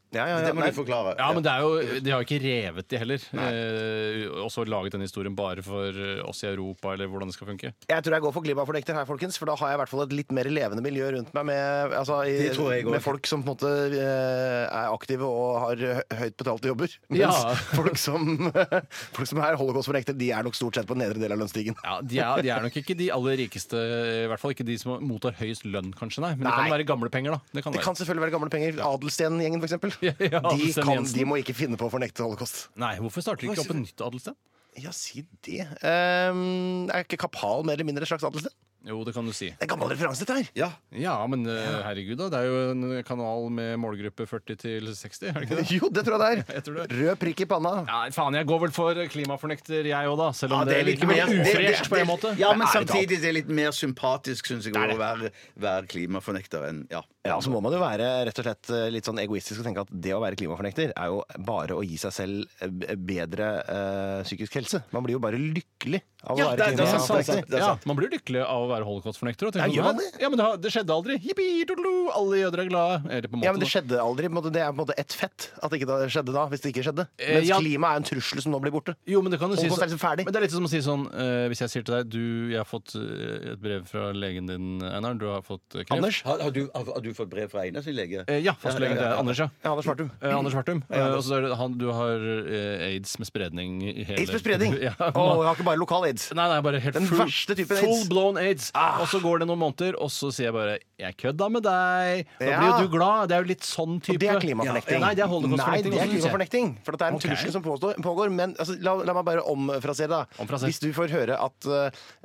Ja, ja, ja. Det må Nei. du forklare. Ja, men det er jo, De har jo ikke revet de heller. Eh, og så laget den historien bare for eh, oss i Europa, eller hvordan det skal funke. Jeg tror jeg går for klimafornekter her, folkens, for da har jeg i hvert fall et litt mer levende miljø rundt meg med, altså, i, Det tror jeg også. med folk som på en måte eh, er aktive og har hø- høyt betalte jobber. Mens Ja. folk, som, folk som er holocaust-fornektere, de er nok stort sett på nedre del av lønnsstigen. Ja, de er, de er nok ikke de aller rikeste, i hvert fall ikke de som mottar høyest lønn, kanskje, nei. Men det kan Nei. være gamle penger, da. Det kan Det være. kan selvfølgelig være gamle penger. Adelsten-gjengen, f.eks. Ja, de, ja, Adelsten kan- Jensen. de må ikke finne på å fornekte holocaust. Nei, hvorfor starter de ikke opp en nytt adelssted? Ja, si det. Ehm, er ikke Kapal mer eller mindre et slags adelssted? Jo, det kan du si. Det er gammel referanse, dette her. Ja. Ja, men eh, herregud, da. Det er jo en kanal med målgruppe 40 til 60, er det ikke det? Jo, det tror jeg det Jeg er. tror det. Rød prikk i panna. Nei, faen, jeg går vel for klimafornekter, jeg òg, da. Selv om Ja, det, virker mer- vel det- det- ufresht på en måte. Ja, men Nei, det er samtidig det er litt mer sympatisk, syns jeg, å være, være klimafornekter enn ja. Ja, altså så må man jo være rett og slett eh, litt sånn egoistisk og tenke at det å være klimafornekter er jo bare å gi seg selv eh, bedre eh, psykisk helse. Man blir jo bare lykkelig av å Ja, være det er- det er sant, det er sant. klimafornekter. er Ja, sant. man blir lykkelig av å være holocaust-fornekter. og tenker Ja, gjør sånn, man det? Ja, men det, har, det skjedde aldri. Jippi, tudelu, alle jøder er glade. Eller på en måte, Ja, men Det da. skjedde aldri. på en måte. Det er på en måte ett fett at det ikke da- skjedde da, hvis det ikke skjedde. Eh, Mens ja. klima er en trussel som nå blir borte. Jo, men det kan du si Holocaust er liksom ferdig. Men det er litt som å si sånn eh, Hvis jeg sier til deg Du, jeg har fått eh, et brev fra legen din, Einar. Du har fått eh, kreft. Anders? Har, har, du, har, har du fått brev fra Einar sin lege? Eh, ja, fastlegen til Anders, ja. Ja, Anders Svartum. Eh, Anders Svartum. Eh, og så er det han, du har eh, aids med spredning i hele Aids med spredning! ja, Å, jeg har ikke bare lokal aids. Nei, nei, bare helt Den full, verste typen full aids. Ah. blown aids. Og så går det noen måneder, og så sier jeg bare 'jeg kødda med deg'. Da Ja. blir jo du glad. Det er jo litt sånn type. Og det er klimafornekting. Nei, det er holocaust-fornekting. Nei, det er også, synes jeg. klimafornekting. For at det er en Ok. trussel som påstår, pågår. Men altså, la, la meg bare omfrasere, da. Omfraser. Hvis du får høre at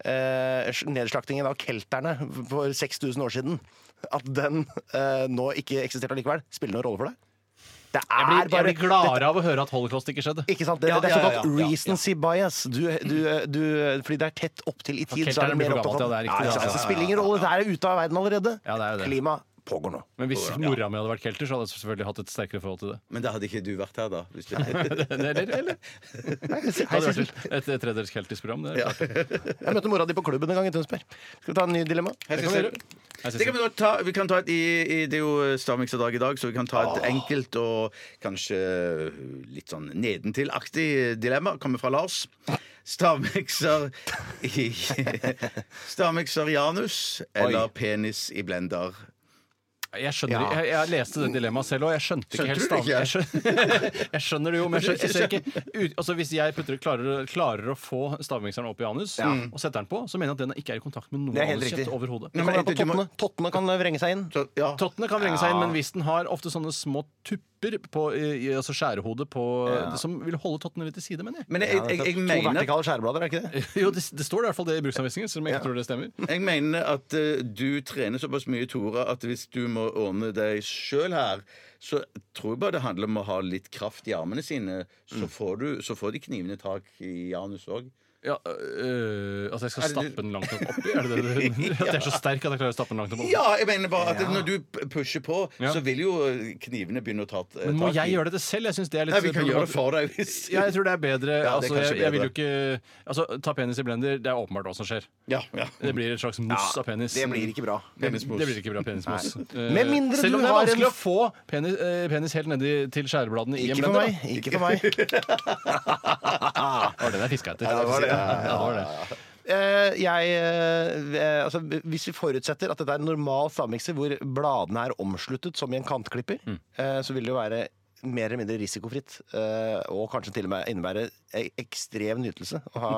eh, nedslaktingen av kelterne for 6000 år siden At den eh, nå ikke eksisterte allikevel, spiller det noen rolle for deg? Det er Jeg blir, jeg bare blir gladere av å høre at holocaust ikke skjedde. Ikke sant? Det, Ja, det er ja, ja, såkalt ja, ja. recency bias. Du, du, du, fordi det er tett opptil i tid. kelterne så er det blir mer for opptatt av gammelt, ja, det er riktig, ikke ja, sant? ja, Det ja, spiller ingen rolle. Det er ute av verden allerede. Ja, det er jo det. Klima pågår nå. Men hvis mora mi hadde vært kelter, så hadde jeg selvfølgelig hatt et sterkere forhold til det. Men da hadde ikke du vært her, da. Hvis du... Eller? eller? Det Hei, hadde vært Sissel. et, et tredjedels keltisk program. Det er klart. Jeg møtte mora di på klubben en gang i Tønsberg. Skal vi ta en ny dilemma? Jeg Det kan skal vi se. gjøre. Hei, Det kan Sissel. vi godt ta, vi kan ta et, i, i, det er jo stavmikserdag i dag, så vi kan ta et enkelt og kanskje litt sånn nedentil-aktig dilemma. Kommer fra Lars. Stavmikser i Stavmikser i anus eller penis i blender? Jeg, skjønner, jeg, jeg leste det dilemmaet selv òg. Jeg skjønte ikke Skjønte helt du det stav... ikke? Jeg skjønner, jeg skjønner det jo, men jeg, skjønner, jeg ser ikke ut, altså Hvis jeg putter, klarer, klarer å få stavmikseren opp i anus og setter den på, så mener jeg at den ikke er i kontakt med Det noe er helt anuskjøtt riktig. overhodet. Nei, Kommer an men på du må- tottene. Tottene kan vrenge seg inn. Så, ja. Tottene kan vrenge seg inn, men hvis den har ofte sånne små tupper vipper på i, i- altså skjærehodet på eh, Som vil holde tottene litt til side, mener jeg. Men jeg, jeg, jeg, jeg, To mener, Eh, vertikale skjæreblader, er ikke det? Jo, det, det står i hvert fall det i bruksanvisningen, selv om jeg ikke tror det stemmer. jeg mener at eh, du trener såpass mye, Tora, at hvis du må ordne deg sjøl her, så tror jeg bare det handler om å ha litt kraft i armene sine. Mm. Så får, du, så får de knivene tak i Janus òg. Ja, øh, altså, jeg skal Er det- stappe den langt nok oppi? Er det det du At jeg er så sterk at jeg klarer å stappe den langt nok oppi? Ja, jeg mener bare at når du p- pusher på, Ja. så vil jo eh, knivene begynne å ta t- tak i Men må jeg gjøre dette selv? Jeg synes det er litt Nei, vi kan gjøre det for deg hvis Ja, jeg tror det er bedre. er altså, kanskje jeg, jeg vil bedre. jo ikke Altså, Ta penis i blender, det er åpenbart hva som skjer. Ja, ja. Det blir et slags mos av penis. Det blir ikke bra. Penismos. Det blir ikke bra penismos. Eh, Med mindre Selv om du det er har en- vanskelig å få penis, eh, penis helt nedi til skjærebladene i en Ikke for blender. meg. Ikke for meg. da. Det var den jeg fiska etter. det var det, ja. Ja, det var det. Eh, jeg, eh, altså, hvis vi forutsetter at dette er en normal stavmikser hvor bladene er omsluttet som i en kantklipper, Mm. eh, så vil det jo være mer eller mindre risikofritt, eh, og kanskje til og med innebære e- ekstrem nytelse å ha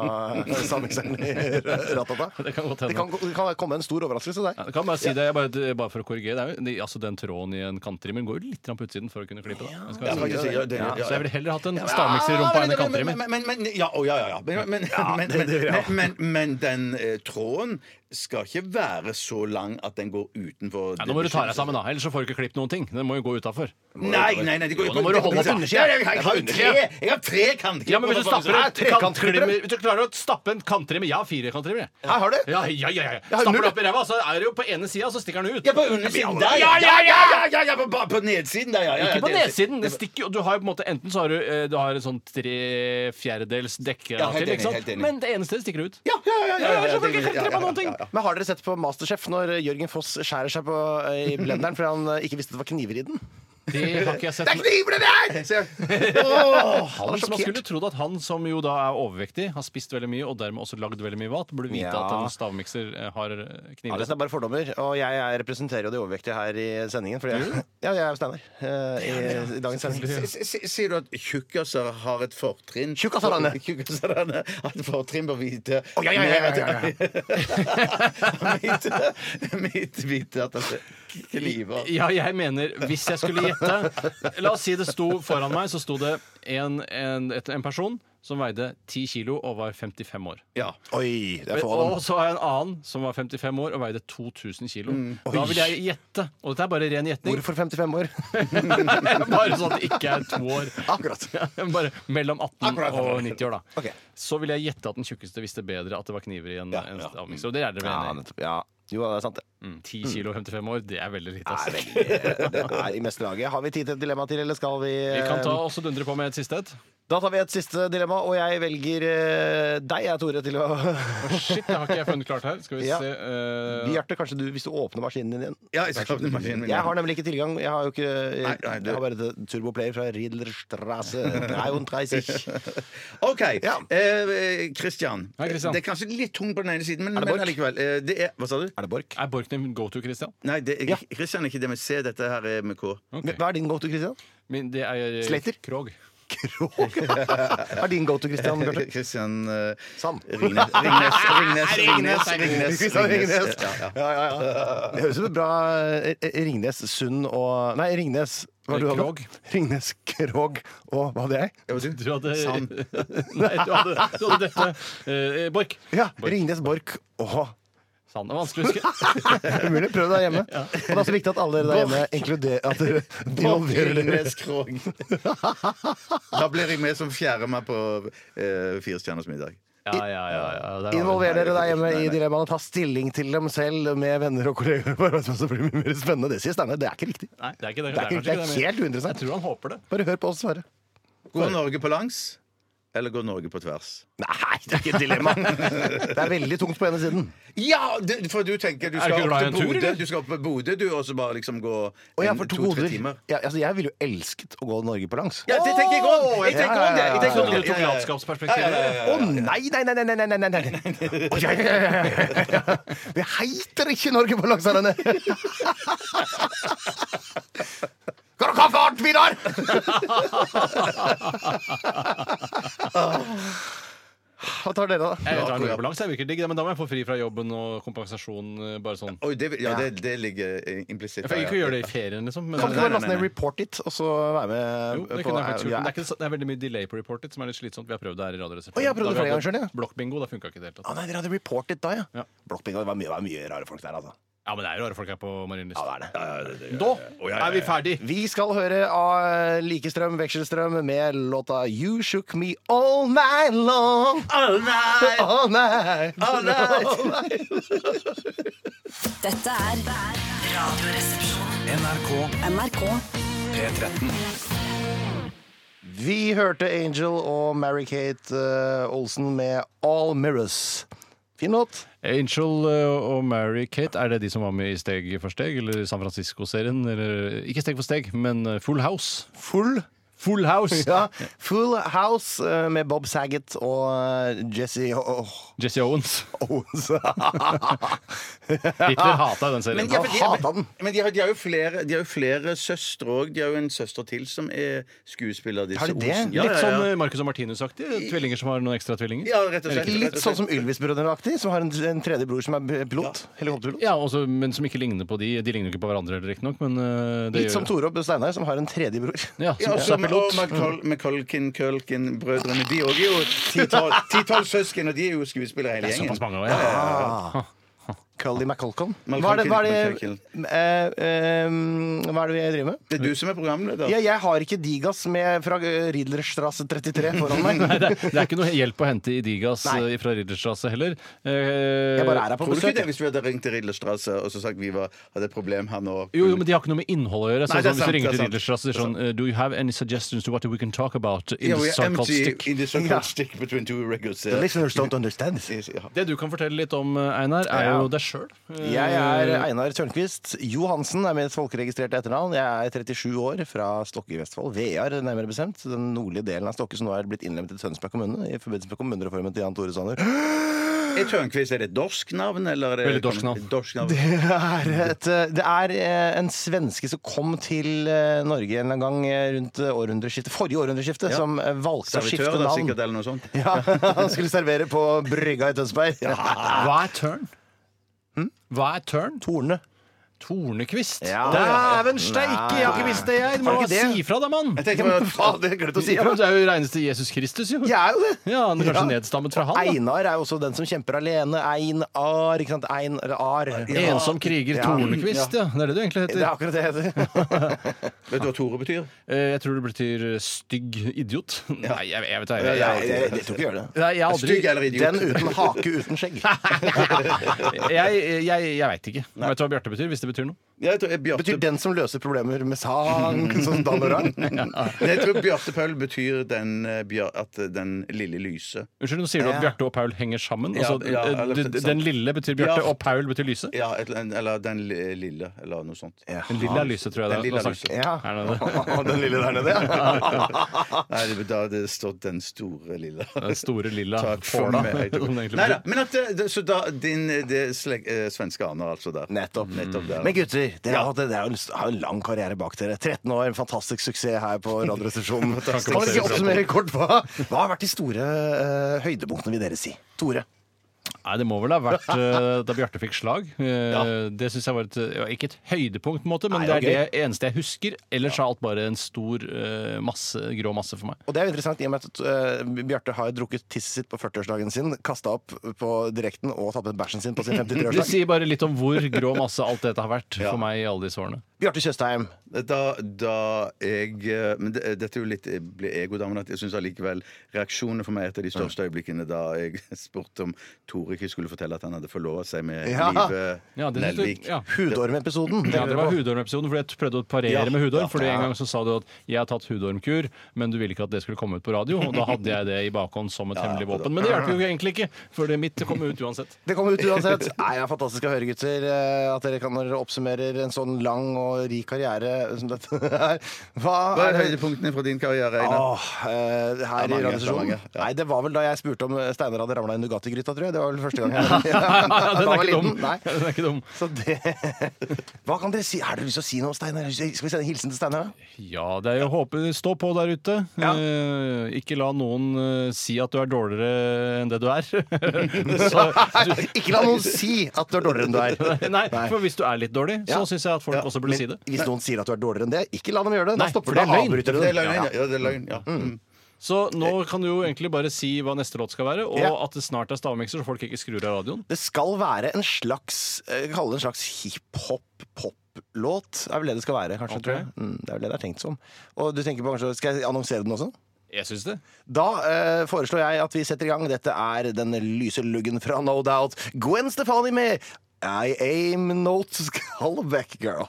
stavmikseren i rattata. Det kan godt hende. det kan, det kan komme en stor overraskelse til Ja, deg. jeg kan bare si det, jeg bare, det- bare for å korrigere. Det er jo, det, altså, den tråden i en kanttrimmer går jo litt grann på utsiden for å kunne klippe. Da. Jeg skal være Ja, ærlig. faktisk, ja, det- Ja, ja, så jeg ville heller hatt en Ja, stavmikser i rumpa enn men- en men- kanttrimmer. men- men- men- Ja, å, ja, ja. ja. Men, men, men, men, men, men, men den eh, tråden skal ikke være så lang at den går utenfor Ja, nå må du ta deg sammen, da. Ellers så får du ikke klippet noen ting. Den må jo gå utafor. Nei, nei, nei, det går Jo, nå må du holde opp undersida. Ja, ja, Jeg har jo tre Jeg har tre kantklipp Ja, men hvis du på den stapper bakken. en kanttrimmer Hvis du klarer å stappe en kanttrimmer Jeg har fire kanttrimmer. jeg. Her har du! Ja, ja, ja, ja. har Stapper null. du opp i ræva, så er det jo på ene sida, så stikker den ut. Ja, på undersiden der Ja, ja, ja! ja, ja, på- på- På nedsiden der, ja, ja, ja Ikke på det- nedsiden. Det stikker jo Du har jo på en måte Enten så har du, eh, du har en sånn tre fjerdedels dekke Ja, helt til, enig, ikke sant? helt enig. Men det ene stedet stikker det ut. Ja, ja, ja, ja, ja, ja, Ja, så får det- ja, ikke ja, klippe ja, noen ting. ja, ja. Men har dere sett på Masterchef når Jørgen Foss skjærer seg på, i blenderen fordi han eh, ikke visste det var kniver i den? Det har ikke jeg sett. Kniver det der! Så jeg- Åh. Han som man sjokkert. skulle trodd at han som jo da er overvektig, har spist veldig mye og dermed også lagd veldig mye mat, burde vite Ja. at en stavmikser eh, har eh, Ja, kniver. dette er bare fordommer, og jeg, jeg representerer jo de overvektige her i sendingen. Fordi jeg, ja, jeg er jo Steinar eh, i, i dagens sending. S- s- Sier du at tjukkaser har et fortrinn? Tjukkaserne. Tjukkaserne har et fortrinn på hvite. Å, ja, ja, ja, ja, ja, Mitt, mitt hvite at det kliver. Ja, jeg mener, hvis jeg skulle gjette La oss si det sto foran meg, så sto det en, en, et, en person som veide 10 kilo og var 55 år. Ja. Oi, det er få av dem. Og så har jeg en annen som var 55 år og veide 2000 kilo. Da vil jeg gjette, og dette er bare ren gjetning, Hvorfor 55 år? bare sånn at det ikke er to år. Akkurat. Ja, Bare mellom 18 Akkurat. og 90 år, da. Ok. Så vil jeg gjette at den tjukkeste visste bedre at det var kniver i en, Ja, en ja. stavmikser. Og det er Ja, dere vel enig i? nettopp. Ja. Jo, det er sant, det. Mm, 10 kilo og 55 år, det er veldig lite. altså. Det ass. er, veldig, det er i meste laget. Har vi tid til et dilemma til, eller skal vi eh, Vi kan ta også dundre på med et siste et. Da tar vi et siste dilemma, og jeg velger eh, deg, jeg, Tore, til å Shit, det har ikke jeg funnet klart her. Skal vi Ja. se eh, Bjarte, kanskje du, hvis du åpner maskinen din igjen. ja jeg skal åpne maskinen min. Jeg har nemlig ikke tilgang. Jeg har jo ikke Nei, nei, du- Jeg har bare det turboplayer fra Riedlerstrasse 33. OK. Ja. Eh, Christian. Hei, Christian. Det er kanskje litt tung på den ene siden, men, det men Borch? allikevel. Eh, det er, hva sa du? Er det Borch? Er Borch din go to, Christian? Nei, det, er- Ja. Christian er ikke det med C. Dette her er med K. Ok. Hva er din go to, Christian? Men det er eh, Slater? Krog. Krog? er din go to, Christian Bjarte? Christian eh, Sand. Ringnes. Ringnes. Ringnes. Ringnes. Ringnes. Christian Ringnes. Ja, ja. Ja, ja, ja. Det høres ut som et bra eh, eh, Ringnes Sund og Nei, Ringnes hva Eh, hadde? Krog. Ringnes Krog og hva hadde jeg? Ja, hva Du hadde Sand. Nei, du hadde, du hadde dette. eh, Borch. Ja, Borch. Ringnes Borch og Sand. Det er vanskelig å huske. Umulig. Prøv det hjemme. Og det er også viktig at alle der hjemme inkluderer at dere involverer dere. Ringnes Krog. Da blir jeg med som fjerdemann på eh, Fire stjerners middag. Ja, ja, ja, ja, der har vi den. Involver dere der hjemme i Nei, nei. dilemmaene. Ta stilling til dem selv med venner og kollegaer. på arbeidsplassen, for Det blir mye mer spennende. Det sier Steinar. Det er ikke riktig. Nei, det er ikke det. Det er, ikke, kanskje det er men- helt Jeg uinteressant. tror han håper det. Bare hør på oss svare. Går Norge på langs, eller går Norge på tvers? Nei, det er ikke et dilemma. Det er veldig tungt på ene siden. Ja! det- for du tenker du Er du skal, ikke glad opp i en til tur, Bodø, eller? du skal opp til Bodø, du, og så bare liksom gå Og jeg en- får to to-tre hoder. timer. Ja, altså, jeg ville jo elsket å gå Norge på langs. Ja, det tenker jeg òg! Jeg tenker òg det. Jeg Jeg tenker trodde også du tok landskapsperspektivet. Å nei, nei, nei, nei, nei, nei, nei, nei. Å, ja, ja, ja, ja, ja. Det heiter ikke Norge på langsarene! Kan du ha fart, Vidar? Hva tar dere, da? Jeg tar en ambulanse, jeg virker digg, men da må jeg få fri fra jobben og kompensasjon eh, bare sånn. Oi, det, ja, det, det ligger eh, implisitt Jeg får ikke ja. gjøre det i ferien, liksom. Men Kan du Nei, bare nei, laste nei, ned nei. Report It, og så være med jo, det på kunne jeg Ja. faktisk gjort. Men det er, ikke, så- det er veldig mye delay på report it, som er litt slitsomt. Vi har prøvd det her i Radioresepsjonen. Å, jeg har prøvd det Da vi flere hadde ganger selv, Blokkbingo, da funka ikke det helt. altså. Å nei, dere hadde Report It da, ja. Ja. Blokkbingo, det var mye, det var mye rare folk der, altså. Ja, men det er jo rare folk her på Marienlyst. Ja, det er det. Da er vi ferdig. Vi skal høre av Likestrøm Vekselstrøm med låta You Shook Me All Night Long. All night, All night. all night. Dette er Radioresepsjonen. NRK. NRK. Vi hørte Angel og Mary-Kate eh, Olsen med All Mirrors. Fin låt. Angel eh, og Mary-Kate, er det de som var med i Steg for steg? Eller i San Francisco-serien? Eller ikke Steg for steg, men eh, Full House. Full. Full House! Ja, Full House eh, med Bob Saget og eh, Jesse O- Jesse Owens. Owens. Hitler hata den serien. Men, ja, for de, hater den. men de, har, de har jo flere, de har jo flere søstre òg. De har jo en søster til som er skuespiller. Disse Har de det? Olsen. Ja, Litt ja, sånn ja. eh, Marcus og Martinus-aktig. Tvillinger som har noen ekstra tvillinger. ja, rett og slett. Litt rett og sånn slett. som Ylvis-brødrene-aktig, som har en, en tredje bror som er b- pilot. Helikopterpilot. Ja, også, men som ikke ligner på de. De ligner jo ikke på hverandre, heller, riktignok, men eh, det Litt gjør som Tore og Steinar, som har en tredje bror. ja, Ja, som og også er pilot. McColkin, Culkin, brødrene De òg er jo ti-tolv ti-tolv søsken, og de er jo skuespillere hele Det er gjengen. såpass mange år, ja. Cully McColcon. McColkin, Hva er det, hva er det, McColkin. eh, eh, hva er det vi driver med? Det er du som er programleder. Ja, jeg har ikke Digas med fra eh, Riedlerstrasse 33 foran meg. Det, det er ikke noe hjelp å hente i Digas Nei. eh, fra Ridderstrasse heller. Jeg bare er her på Tror du ikke besøk. det hvis vi hadde ringt til Ridlerstrasse og så sagt vi var, hadde et problem her nå? Jo, Mm. jo, men de har ikke noe med innhold å gjøre. Nei, Sånn det er som sant, hvis du ringer det til er Ridderstrasse og sier sånn eh, Do you have any suggestions to what we can talk about in Ja, we the are empty sarcastic in the circle stick between two records. The listeners don't understand. Ja. Det du kan fortelle litt om, eh, Einar, er Ja. jo deg Eh, sjøl. Jeg er Einar Tørnquist. Johansen er mitt folkeregistrerte etternavn. Jeg er 37 år, fra Stokke i Vestfold. Vear, nærmere bestemt. Den nordlige delen av Stokke som nå er blitt innlemmet i Tønsberg kommune i forbindelse med kommunereformen til Jan Tore Sanner. Er Tørnquist er det et dorsk navn? Eller er det, Veldig dorsk navn. Dorsk navn. Det er, et, det er eh, en svenske som kom til eh, Norge en eller annen gang eh, rundt eh, århundreskiftet, forrige århundreskifte, Ja. som eh, valgte å skifte Servitør, da, navn. sikkert, eller noe sånt. Ja, Han skulle servere på brygga i Tønsberg. Hva er turn? Hva er turn? Torne. Tornekvist? Hm? Ja. Dæven steike, jeg har ikke Nei. visst det, jeg! Du Har må du ikke det? si ifra, da, mann! Jeg tenker bare, Faen, det glemte å si Ja, fra. men Du er jo reineste Jesus Kristus, jo. Jeg er jo det. Ja, han er kanskje Ja. nedstammet fra han. Einar er jo også den som kjemper alene. Einar, ikke sant. Einar. Da. Ensom kriger Ja. Tornekvist, ja. Det er det du egentlig Det er heter. akkurat det det heter. Vet du hva Tore betyr? Eh, Jeg tror det betyr eh, stygg idiot. Nei, jeg, jeg vet det. Jeg, Jeg, jeg, jeg, jeg tror ikke jeg gjør det. Nei, jeg har aldri Stygg eller idiot? Den uten hake, uten skjegg. Jeg, jeg, jeg veit ikke. Vet du hva Bjarte betyr? Hvis det betyr noe. Jeg tror, Bjarte, Betyr den som løser problemer med sang, som dall og rang? Nei, jeg tror Bjarte Paul betyr den, eh, bjar, at den lille lyse. Unnskyld, nå sier du at Ja. Bjarte og Paul henger sammen? Ja, altså, ja, eh, eller- d- d- den lille betyr Bjarte, Ja. og Paul betyr lyse? Ja, et, eller annet- eller den li- lille, eller noe sånt. Den lille er lyse, tror jeg. Den det er. lille er Nå lyse. snakker- Ja. Er det det? Den lille der nede, ja. Nei, det, da hadde det stått den store lille. Den store lilla Takk for påla. meg. som det egentlig Nei da, betyr. men at eh, det, Så da din eh, det, slek, eh, svenske aner, altså, der. Nettopp. Nettopp der. Mm. Men gutter, dere Ja. har, hatt- dere har jo en- har en lang karriere bak dere. 13 år, en fantastisk suksess her på Radioresepsjonen. Kan dere ikke oppsummere kort hva, hva har vært de store eh, høydepunktene, vil dere si? Tore. Nei, det må vel ha vært eh, da Bjarte fikk slag. Eh, Det syns jeg var et, ja, ikke et høydepunkt, på en måte, men Nei, det er det eneste jeg husker. Ellers er alt bare en stor eh, masse, grå masse for meg. Og det er jo interessant i og med at eh, Bjarte har drukket tisset sitt på 40-årsdagen sin, kasta opp på direkten og tatt med bæsjen sin på sin Det 53-årsdag. sier bare litt om hvor grå masse alt dette har vært for meg i alle disse årene. Bjarte Tjøstheim. Da, da jeg eh, Men det, dette er jo litt eh, ble egodamen at jeg syns allikevel reaksjonene for meg er et av de største øyeblikkene da jeg spurte om Tore ikke skulle fortelle at han hadde forlova seg med Ja. Live Ja, det synes du- Nelvik. ja. Hudormepisoden. Ja, det var hudormepisoden, fordi jeg prøvde å parere Ja, med hudorm. ja, fordi En gang så sa du at jeg har tatt hudormkur, men du ville ikke at det skulle komme ut på radio. Og da hadde jeg det i bakhånd som et hemmelig våpen. Men det hjalp jo egentlig ikke, for det mitt kom ut uansett. Det kommer ut uansett. Nei, det er Fantastisk å høre, gutter, eh, at dere kan når dere oppsummerer en sånn lang og og rik karriere som dette er. Hva Hva er er høydepunktene fra din karriere, Einar? Åh, eh, her i Det er mange, radiostasjonen? det er mange, ja. Nei, det var vel da jeg spurte om Steinar hadde ramla i Nugatti-gryta, tror jeg. Det var vel første gang. jeg- Da Den var er jeg ikke dum. liten. Nei. Den er ikke dum. Så det Hva kan dere si? Er det lyst til å si noe om Steinar? Skal vi sende en hilsen til Steinar, da? Ja, det er jo å håpe Stå på der ute. Eh, ikke la noen eh, si at du er dårligere enn det du er. så, Nei, ikke la noen si at du er dårligere enn du er. nei, for hvis du er litt dårlig, så Ja. syns jeg at folk også burde si det. Men hvis noen sier at du er dårligere enn det, ikke la dem gjøre det. Da Nei, stopper for du. det er Da løgn. avbryter du Det er dem. løgn, ja. ja, det er løgn, ja. Mm. Så nå kan du jo egentlig bare si hva neste låt skal være, og Ja. at det snart er stavmikser, så folk ikke skrur av radioen. Det skal være en slags eh, Kalle det en slags hiphop-pop-låt. Er vel det det skal være, kanskje. Ok. Tror jeg. Mm, det er vel det det er tenkt som. Og du tenker på kanskje, Skal jeg annonsere den også? Jeg syns det. Da eh, foreslår jeg at vi setter i gang. Dette er den lyse luggen fra No Doubt. Gwen Stefani med I aim not callback girl.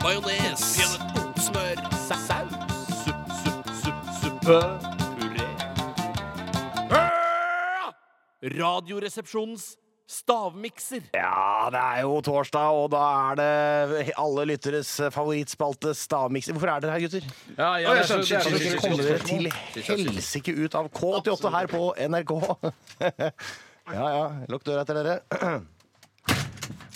Majones. Smør. Saus. Supp, supp, supp, suppe. Puré. Radioresepsjonens stavmikser. ja, det er jo torsdag, og da er det alle lytteres favorittspalte stavmikser. Hvorfor er dere her, gutter? Ja, Å, ja, jeg det er så- skjønner, jeg Kan dere det er ikke så- komme dere til helsike ut av K88 her på NRK? Ja ja, lukk døra etter dere.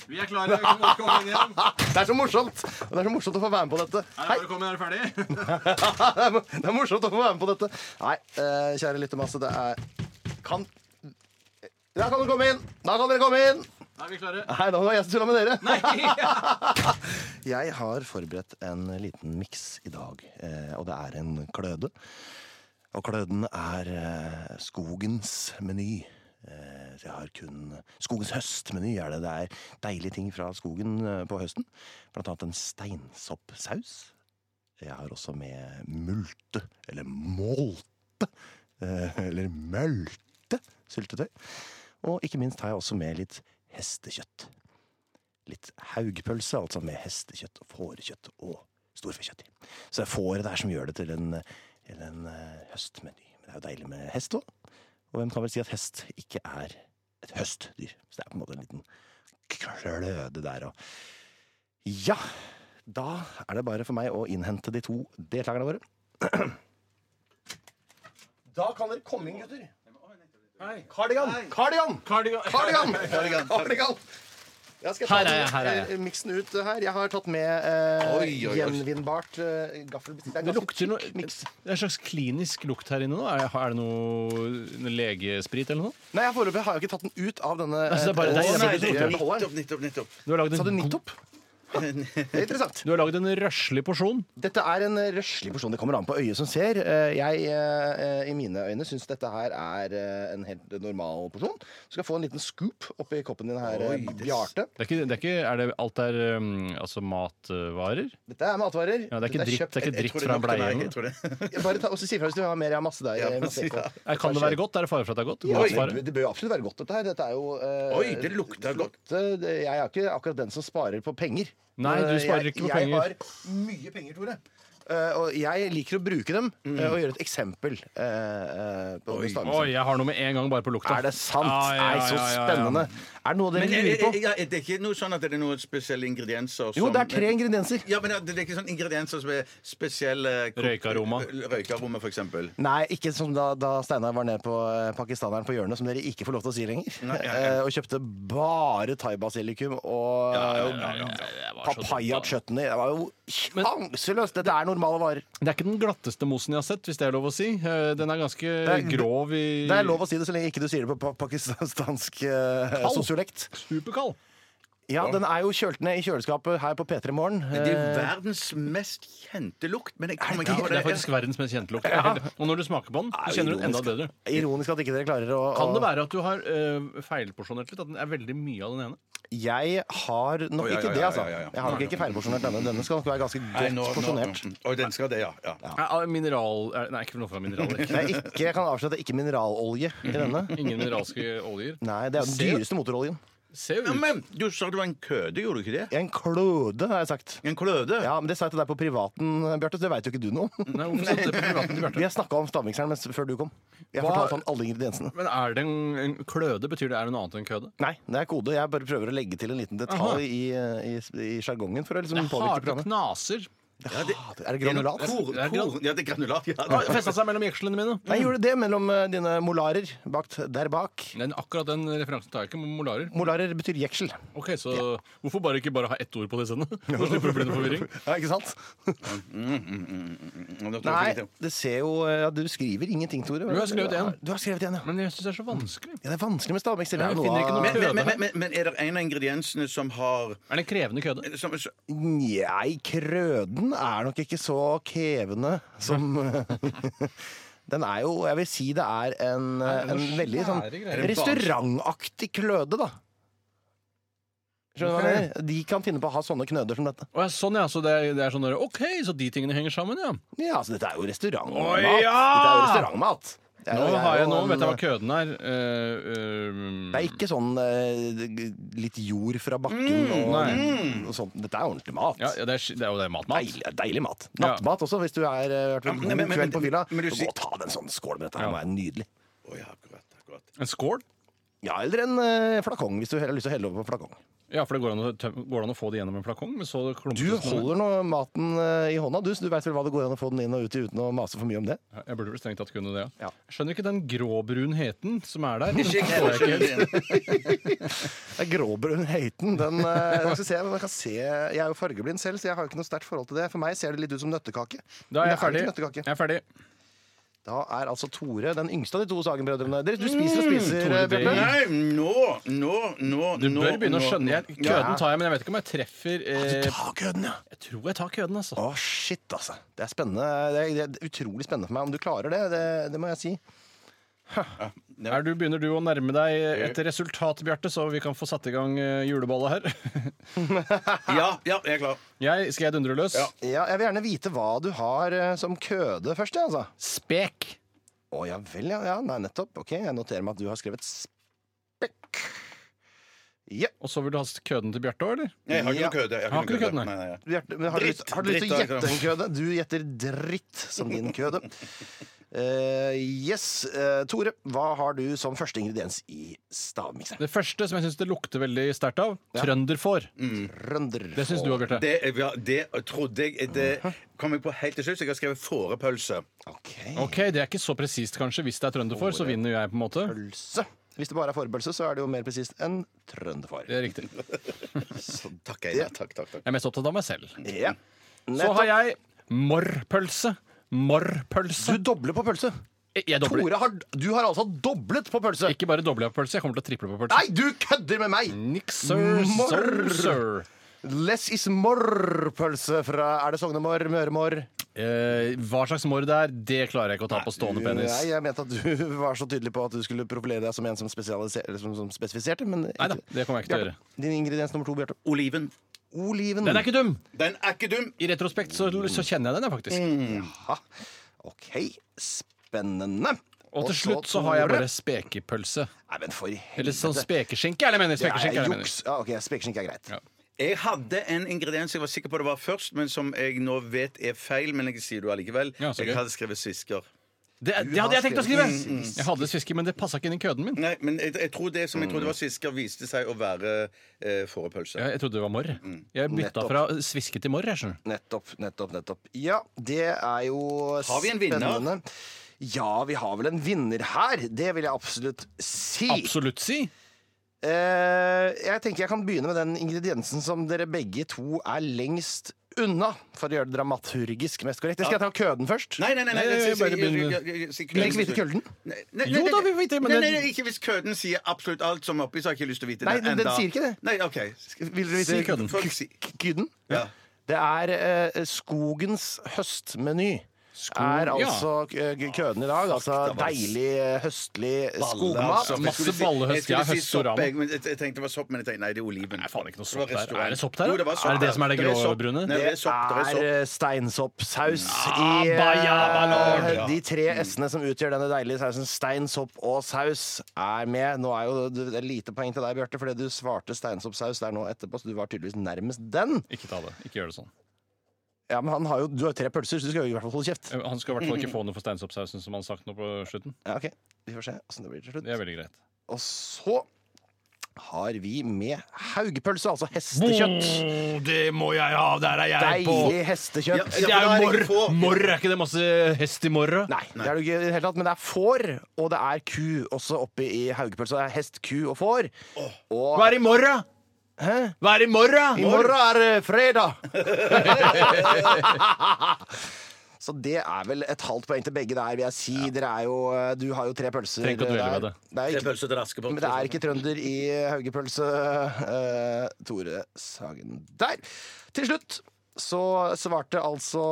Vi er klare. Vi må komme inn igjen. Det er så morsomt Det er så morsomt å få være med på dette. Hei, Velkommen, er du ferdig? det er det er morsomt å få være med på dette. Nei, eh, kjære lyttermasse, det er Kan Da kan du komme inn! Da kan dere komme inn! Er vi klare? Nei, da var jeg som tulla med dere. jeg har forberedt en liten miks i dag, eh, og det er en kløde. Og kløden er eh, skogens meny. Eh, så Jeg har kun Skogens høstmeny er det. Det er deilige ting fra skogen eh, på høsten. Blant annet en steinsoppsaus. Jeg har også med multe, eller molte, eh, eller mølte syltetøy. Og ikke minst har jeg også med litt hestekjøtt. Litt haugpølse, altså med hestekjøtt og fårekjøtt og storfekjøtt i. Så det er fåret der som gjør det til en, til en eh, høstmeny. Men det er jo deilig med hest òg. Og hvem kan vel si at hest ikke er et høstdyr? Så det er på en måte en liten kløde der òg. Ja, da er det bare for meg å innhente de to deltakerne våre. Da kan dere komme inn, gutter. Kardigan! Kardigan! Kardigan! Kardigan! Jeg skal ta Her er jeg, her er jeg. eh, miksen ut her. Jeg har tatt med eh, Oi, oi, oi. gjenvinnbart eh, gaffel... Det er Det lukter noe ganske tykk miks. Det er en slags klinisk lukt her inne nå. Er, er det noe noe legesprit eller noe? Nei, jeg foreløpig har jeg ikke tatt den ut av denne Altså, det er bare- eh, det er- eh, det er- eh, beholderen. Nettopp, nettopp, nettopp. Du har lagd Sa du en, god- nittopp? Det er interessant. du har lagd en røslig porsjon. Dette er en røslig porsjon. Det kommer an på øyet som ser. Eh, Jeg, eh, eh, i mine øyne, syns dette her er eh, en helt normal porsjon. Du skal få en liten scoop oppi koppen din her, eh, Bjarte. Det er ikke, det er ikke er det, Alt er um, altså matvarer? Dette er matvarer. Ja, det er ikke Dette dritt, det er ikke kjøpt- dritt fra en bleie? Nei, jeg eller noe. tror det. Jeg- Bare ta, også si ifra hvis du har mer. Jeg har masse der. eh, masse ekko. Eh, Kan det være godt? Er det fare for at det er godt? Ja, Matfare? det, det bør jo absolutt være godt, dette her. Dette er jo eh, Oi, det lukter godt. det- det- Jeg er ikke akkurat den som sparer på penger. Nei, du Eh, sparer jeg, ikke på Jeg penger. har mye penger, Tore. Eh, og jeg liker å bruke dem eh, og gjøre et eksempel. eh, eh, på bestandelsen. Mm. Oi, jeg har noe med en gang bare på lukta. Er det sant? Ja, ja, Nei, så ja, ja, ja. spennende. Er det noe dere Men er, lurer er, på? er, er det ikke noe sånn at det er noen spesielle ingredienser som Jo, det er tre ingredienser. Ja, men det er ikke sånn ingredienser som er spesielle Røykaroma. Røykaroma, for eksempel. Nei, ikke som da, da Steinar var ned på eh, pakistaneren på hjørnet, som dere ikke får lov til å si lenger. Nei, ja, ja. Eh, Og kjøpte bare thaibasilikum og Eh. papaya chutney. Det var jo sjanseløst! Dette er normale varer. Det er ikke den glatteste mosen jeg har sett, hvis det er lov å si. Eh, Den er ganske Det er- grov i Det er lov å si det så lenge ikke du sier det på pa- pakistansk eh, Kald. sosiolekt. Superkald. Ja, den er jo kjølt ned i kjøleskapet her på P3 Morgen. eh, Det er verdens mest kjente lukt, men jeg kommer ikke på Det det. er faktisk verdens mest kjente lukt. Og når du smaker på den, så kjenner du den enda bedre. Ironisk at ikke dere klarer å Kan det være at du har eh, feilporsjonert litt? At den er veldig mye av den ene? Jeg har nok Å, ja, ikke ja, det, ja, altså. ja, ja, ja. Jeg har nok ikke feilporsjonert denne. Denne skal nok være ganske Nei, godt nå- nå- porsjonert. Oi, den skal det, ja. ja. Eh, Mineral eh, Nei, ikke noe fra mineraler. Det er ikke, jeg kan avsløre at det er ikke mineralolje i denne. Ingen mineralske oljer. Nei, Det er den Se. dyreste motoroljen. Ser jo Ja, ut. men du sa du var en køde, gjorde du ikke det? En klode, har jeg sagt. En kløde? Ja, men Det sa jeg til deg på privaten, Bjarte. så Det veit jo ikke du noe om. Nei, hvorfor satte det på privaten til Vi Bjarte? har snakka om stavmikseren mens, før du kom. Jeg Hva- fortalte om alle ingrediensene. Men er det en, en kløde? Betyr det er det noe annet enn køde? Nei, det er kode. Jeg bare prøver å legge til en liten Aha. detalj i, eh, i, i sjargongen for å liksom Det er påvirke harde programmet. knaser. Ah, det- Er det granulat? Kor, Det er kor, ja, det er granulat. Ja. Det Festa seg mellom jekslene mine. Nei, gjorde det mellom eh, dine molarer bakt der bak. Men akkurat den referansen tar jeg ikke. Molarer. Molarer betyr jeksel. Ok, så Hvorfor bare ikke bare ha ett ord på det sendet? Så slipper det å bli noe forvirring. Ja, ikke sant? Nå tror jeg ikke Nei, det. det ser jo ja, Du skriver ingenting, Tore. Du har skrevet en. Du har skrevet en, ja. Men jeg syns det er så vanskelig. ja. Det er vanskelig med stavmikser. Det Jeg er finner ikke noe noe av Men, men, men, men, men er det en av ingrediensene som har Er det en krevende køde? som, som, Nei, krøden er nok ikke så krevende som Den er jo Jeg vil si det er en, Er det noen en veldig sånn svære greier? restaurantaktig kløde, da. Skjønner du hva jeg mener? De kan finne på å ha sånne knøder som dette. Å, ja, sånn, ja. Så det er, det er sånn der, OK, så de tingene henger sammen, ja. Ja, altså dette er jo restaurantmat. Å, Dette er jo ja! restaurantmat. Det er Nå, jo- det er har jeg, jo nå en- vet jeg hva køden er. Eh, eh, Det er ikke sånn eh, litt jord fra bakken og, og sånt. Dette er ordentlig mat. ja, ja, det, er, sk- det er jo det er matmat. Deilig, deilig mat. Nattmat også, hvis du er eh, vært en men- god men- men- kveld på fylla. men du Så sier- gå og ta deg en sånn skål med dette. her, Det må være nydelig. Å, ja, akkurat, akkurat. En skål? Ja, eller en eh, flakong, hvis du heller har lyst til å helle over på flakong. Ja, for det går an å, tøm- går det an å få det gjennom en flakong. Men så klumpes Du den sammen. holder nå maten eh, i hånda, du, så du veit vel hva det går an å få den inn og ut i uten å mase for mye om det. Ja, Jeg burde vel strengt tatt kunne det. Ja. Ja. Jeg Skjønner ikke den gråbrunheten som er der. Ikke jeg heller, skjønner du det? Det er Gråbrun Heiten. Den, eh, jeg, skal se, men jeg, kan se, jeg er jo fargeblind selv, så jeg har jo ikke noe sterkt forhold til det. For meg ser det litt ut som nøttekake. Men Da er det jeg ferdig. ikke nøttekake. Jeg er ferdig. Da er altså Tore den yngste av de to Sagen-brødrene. Dere- Du spiser Mm. og spiser, Tore eh, Bjarte. Dei. Nei, nå, nå, nå Du nå, bør nå, begynne å skjønne. Jeg, Ja. køden tar jeg, men jeg vet ikke om jeg treffer eh, Ta køden, ja. Jeg tror jeg tar køden, altså. Å, shit, altså. Det er spennende. Det er, det er utrolig spennende for meg. Om du klarer det, det, det må jeg si. Er du, begynner du å nærme deg et resultat, Bjarte, så vi kan få satt i gang eh, juleballet her? Ja, ja, jeg er klar. Jeg, skal jeg dundre løs? Ja, jeg vil gjerne vite hva du har eh, som køde først, jeg, altså. Spek. Å ja vel, ja. ja. Nei, nettopp. Ok, jeg noterer meg at du har skrevet spekk. Ja. Og så vil du ha køden til Bjarte òg, eller? Nei, Jeg har ikke noe køde. Jeg Har ikke noe køde, nei. Nei, nei, nei. Bjarte, men har, du Dritt. lyst, har du lyst til å Dritt, da, gjette en køde? Du gjetter dritt som din køde. Eh, yes. Eh, Tore, hva har du som første ingrediens i stavmikseren? Det første som jeg syns det lukter veldig sterkt av, trønderfår. Rønder. Det syns du òg, Bjarte. Det, ja, det trodde jeg Det kom jeg på helt til slutt, så jeg har skrevet fårepølse. Ok. OK, det er ikke så presist, kanskje. Hvis det er trønderfår, så vinner jo jeg, på en måte. Pølse. Hvis det bare er forpølse, så er det jo mer presist enn trønderfar. Det er riktig. Jeg Takk, Einar. Takk, takk, takk. er mest opptatt av meg selv. Ja. Så har jeg morrpølse. Du Morrpølse. dobler på pølse. Jeg- Jeg dobler. Tore, har, du har altså doblet på pølse! Ikke bare dobler jeg på pølse, jeg kommer til å triple på pølse. Nei, du kødder med meg! Nix, sir, Morr. sir, sir. Less is more-pølse fra Er det Sognemor? Møremor? Eh, hva slags morr det er, det klarer jeg ikke å ta på stående Nei, penis. jeg mente at du var så tydelig på at du skulle profilere deg som en som, spesialiser- eller som, som spesifiserte, men Nei da, det kommer jeg ikke til å gjøre. Din ingrediens nummer to, Bjarte. Oliven. Oliven. Den er ikke dum! Den er ikke dum. I retrospekt så, så kjenner jeg den, jeg, faktisk. Jaha. OK, spennende. Og til slutt så har jeg bare spekepølse. Nei, men for Eller helvete. sånn spekeskinke, er det jeg mener. Spekeskinke, er det jeg mener. juks. Ja, ok, spekeskinke er greit. Ja. Jeg hadde en ingrediens jeg var sikker på det var først, men som jeg nå vet er feil. Men jeg sier det allikevel. Ja, så gøy. jeg hadde skrevet svisker. Det, det hadde jeg tenkt å skrive! Jeg hadde sviske, men det passa ikke inn i køden min. Nei, men jeg, jeg tror det som jeg Mm. trodde var svisker, viste seg å være eh, fårepølse. Jeg, jeg trodde det var morr. Jeg bytta Nettopp. fra sviske til morr. jeg skjønner. Nettopp, nettopp, nettopp. Ja, det er jo Har vi en vinner? spennende. Ja, vi har vel en vinner her. Det vil jeg absolutt si. Absolutt si. Eh, jeg tenker jeg kan begynne med den ingrediensen som dere begge to er lengst unna, for å gjøre det dramaturgisk mest korrekt. Skal jeg ta køden først? Nei, nei, nei. nei, Nei, jeg bare begynner. Vil dere ikke vite køden? Jo da, vi får vite, men Nei, den- nei, nei, ikke hvis køden sier absolutt alt som er oppi, så har jeg ikke lyst til å vite Nei, det den- den sier ikke det. Nei, ok. Vil dere Si vite kødden. Folk sier køden? Ja. Det er eh, skogens høstmeny. er altså k- k- køden i dag. Altså deilig, høstlig skogmat. altså. Jeg masse skulle si- ballehøst. Jeg skulle Jeg har si høst og sopp, rama. jeg, men jeg jeg tenkte det var sopp, men jeg tenkte nei, det er oliven. Nei, faen, ikke noe Det var sopp der. restaurant. Er det sopp der, da? Jo, det var sopp Er det det der. som er det sopp. gråbrune? Nei, det er sopp. Det er sopp. er eh, steinsoppsaus i Abba, jabba, eh, De tre S-ene som utgjør denne deilige sausen, stein, sopp og saus, er med. Nå er jo det er lite poeng til deg, Bjarte, fordi du svarte steinsoppsaus der nå etterpå, så du var tydeligvis nærmest den. Ikke ta det. Ikke gjør det sånn. Ja, men han har jo, du har jo tre pølser, så du skal jo i hvert fall holde kjeft. Eh, Han skal i hvert fall ikke få noe for steinsoppsausen, som han har sagt nå på slutten. Ja, ok. Vi får se åssen det blir til slutt. Det er veldig greit. Og så har vi med haugpølse, altså hestekjøtt. det må jeg ha! Der er Deilig Ja, hestekjøtt. ja, Det men er da jo det morr! ikke få. Morr, er ikke det masse hest i morra? Nei, det er det ikke i det hele tatt, men det er får, og det er ku også oppe i haugepølsa. Det er hest, ku og får. Og Hva er i morra? Hva er i morra? i morgen er det fredag! Så det er vel et halvt poeng til begge der, vil jeg si. Dere er jo, eh, du har jo tre pølser. Trenger ikke å dvele ved der. det. Det er Tre ikke, pølser til Askepott. men det er ikke trønder i haugepølse, eh, Tore Sagen. Der! Til slutt så svarte altså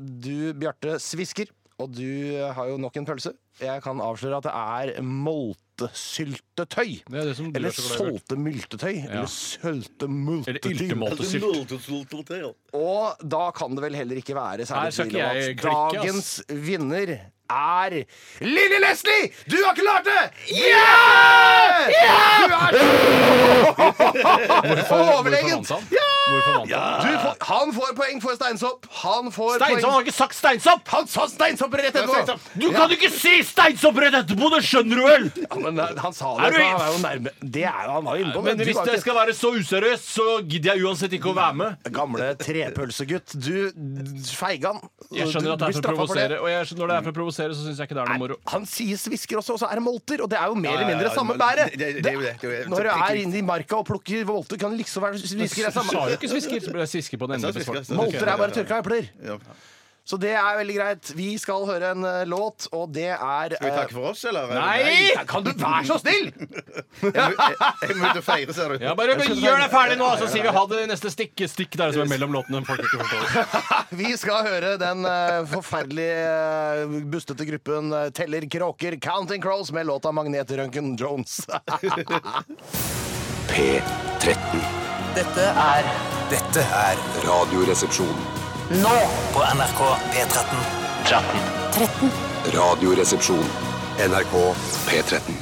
du, Bjarte Svisker, og du har jo nok en pølse. Jeg kan avsløre at det er moltesyltetøy. Det er det som du Eller er så glad i, Bjarte. soltemyltetøy. Eller Eller søltemulteting. iltemåltesylt. Og da kan det vel heller ikke være Her særlig skal tvil om ikke at jeg klikke, dagens ass. vinner er Lille Leslie! Du har klart det! Ja! Du er så Hvorfor overlegen! vant han? Hvorfor vant han? Du får, han får poeng for steinsopp. Han får Steinsopp! Han poeng har ikke sagt steinsopp! Han sa steinsopp rett etterpå! Du kan ikke si steinsopp rett etterpå, det skjønner du vel? Ja, men eh, han sa det, Er du- så han er jo nærme. Det er jo han var jo inne på. Men du hvis var det ikke- skal være så useriøst, så gidder jeg uansett ikke å være med. Gamle trepølsegutt. Du feigan. Jeg skjønner Du at det er for å blir straffet det. provosere, og jeg skjønner når det er for å provosere, så syns jeg ikke det er noe moro. Han sier svisker også, og så er det molter. Og det er jo mer eller ja, mindre ja, samme men bæret. det- det- det er jo det, det er jo det. Når du Prikk, er prikk. inne i marka og plukker volter, kan det liksom være svisker. Det er Du sa jo samme. ikke svisker, så ble jeg svisker på den Jeg sa endelige svisker, jeg sa svarten. Molter er bare Ja, ja, tørka epler. Ja. Så det er veldig greit. Vi skal høre en eh, låt, og det er Skal vi eh, takke for oss, eller? Nei! Kan du være så snill?! Jeg, jeg, jeg må ut og feire, ser du. Ja, bare gjør deg ferdig nå, så sier vi ha det i neste stikk. Stikk der som er mellom låtene. Folk ikke forstår. Vi skal høre den eh, forferdelige, eh, bustete gruppen eh, Teller Kråker, Counting Crows, med låta Magnetrøntgen Jones. P13. Dette er Dette er Radioresepsjon. nå på NRK P13. 13. Radioresepsjon. NRK P13.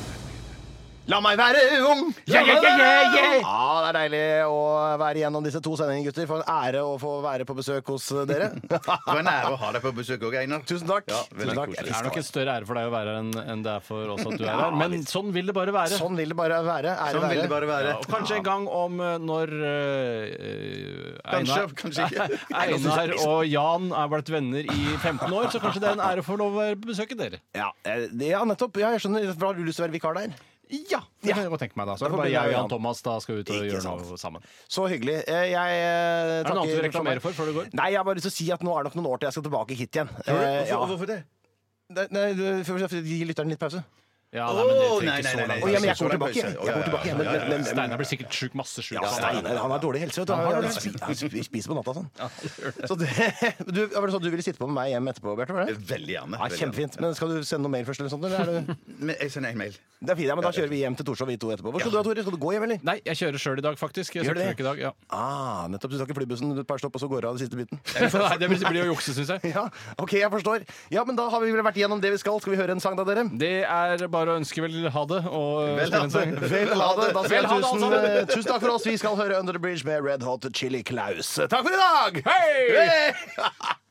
La meg være ung! Ja, ja, ja, ja, ja. Ja, det er deilig å være igjennom disse to sendingene, gutter. For en ære å få være på besøk hos eh, dere. Det var en ære å ha deg på besøk òg, Einar. Tusen takk. Ja, Tusen veldig takk. koselig. Det er nok en større ære for deg å være her enn enn det er for oss at du er her. Men sånn vil det bare være. Sånn vil det bare være. Ære Sånn vil det være. bare være. Ja, og kanskje en gang om eh, når eh, Einar, Kanskje, kanskje ikke. Einar og Jan er blitt venner i 15 år, så kanskje det er en ære for lov å besøke dere. Ja, eh, det- ja, nettopp. Ja, jeg skjønner. Har du lyst til å være vikar der? Ja, det kan jeg godt tenke meg da. Så er det Da får bare jeg og vi- Jan Thomas da skal ut og Ikke gjøre sant. noe sammen. Så hyggelig. Eh, Jeg eh, takker Er det noe annet du vil for meg. reklamere for før du går? Nei, jeg har bare lyst til å si at nå er det nok noen år til jeg skal tilbake hit igjen. Eh, ja. Hvorfor det? Nei, nei, du- for- for- for- Gi lytteren litt pause. Ja, Å, nei, men det trenger nei, ikke nei, nei, så lang Å, ja, men jeg så kommer lang tilbake. pause. Jeg Ja, kommer ja, tilbake ja, igjen. Men, ja, ja, ja. men, men, Steinar blir sikkert sjuk, masse sjuk. Ja, Steinar han har dårlig helse. Vet du. Han, han spi- han spi- spiser på natta sånn. Så det, du, var det sånn at du ville sitte på med meg hjem etterpå, Bjarte? var det? Veldig gjerne. Ja, veldig gjerne. kjempefint. Men skal du sende noe mail først? eller sånt? Eller er du... Men jeg sender en mail. Det er fint, ja, men Da kjører vi hjem til Torshov, vi to etterpå. Hvor skal du da, Tore? Skal du gå hjem, eller? Nei, jeg kjører sjøl i dag, faktisk. Jeg Gjør skal det? ikke i dag, ja. Ah, nettopp. Du tar ikke flybussen, et par stopp, og så går du av den siste biten? Nei, det blir blir å jukse, syns jeg. Ja, OK, jeg forstår. Ja, men da har vi vel vært igjennom det vi skal. Skal vi høre en sang da, dere? Det er bare å ønske vel ha det og spille en sang. Vel, ha det. Da sier jeg Vel, ha det, tusen, alle eh, tusen takk for oss. Vi skal høre Under the Bridge med Red Hot Chili Klaus. Takk for i dag! Hei! Hei!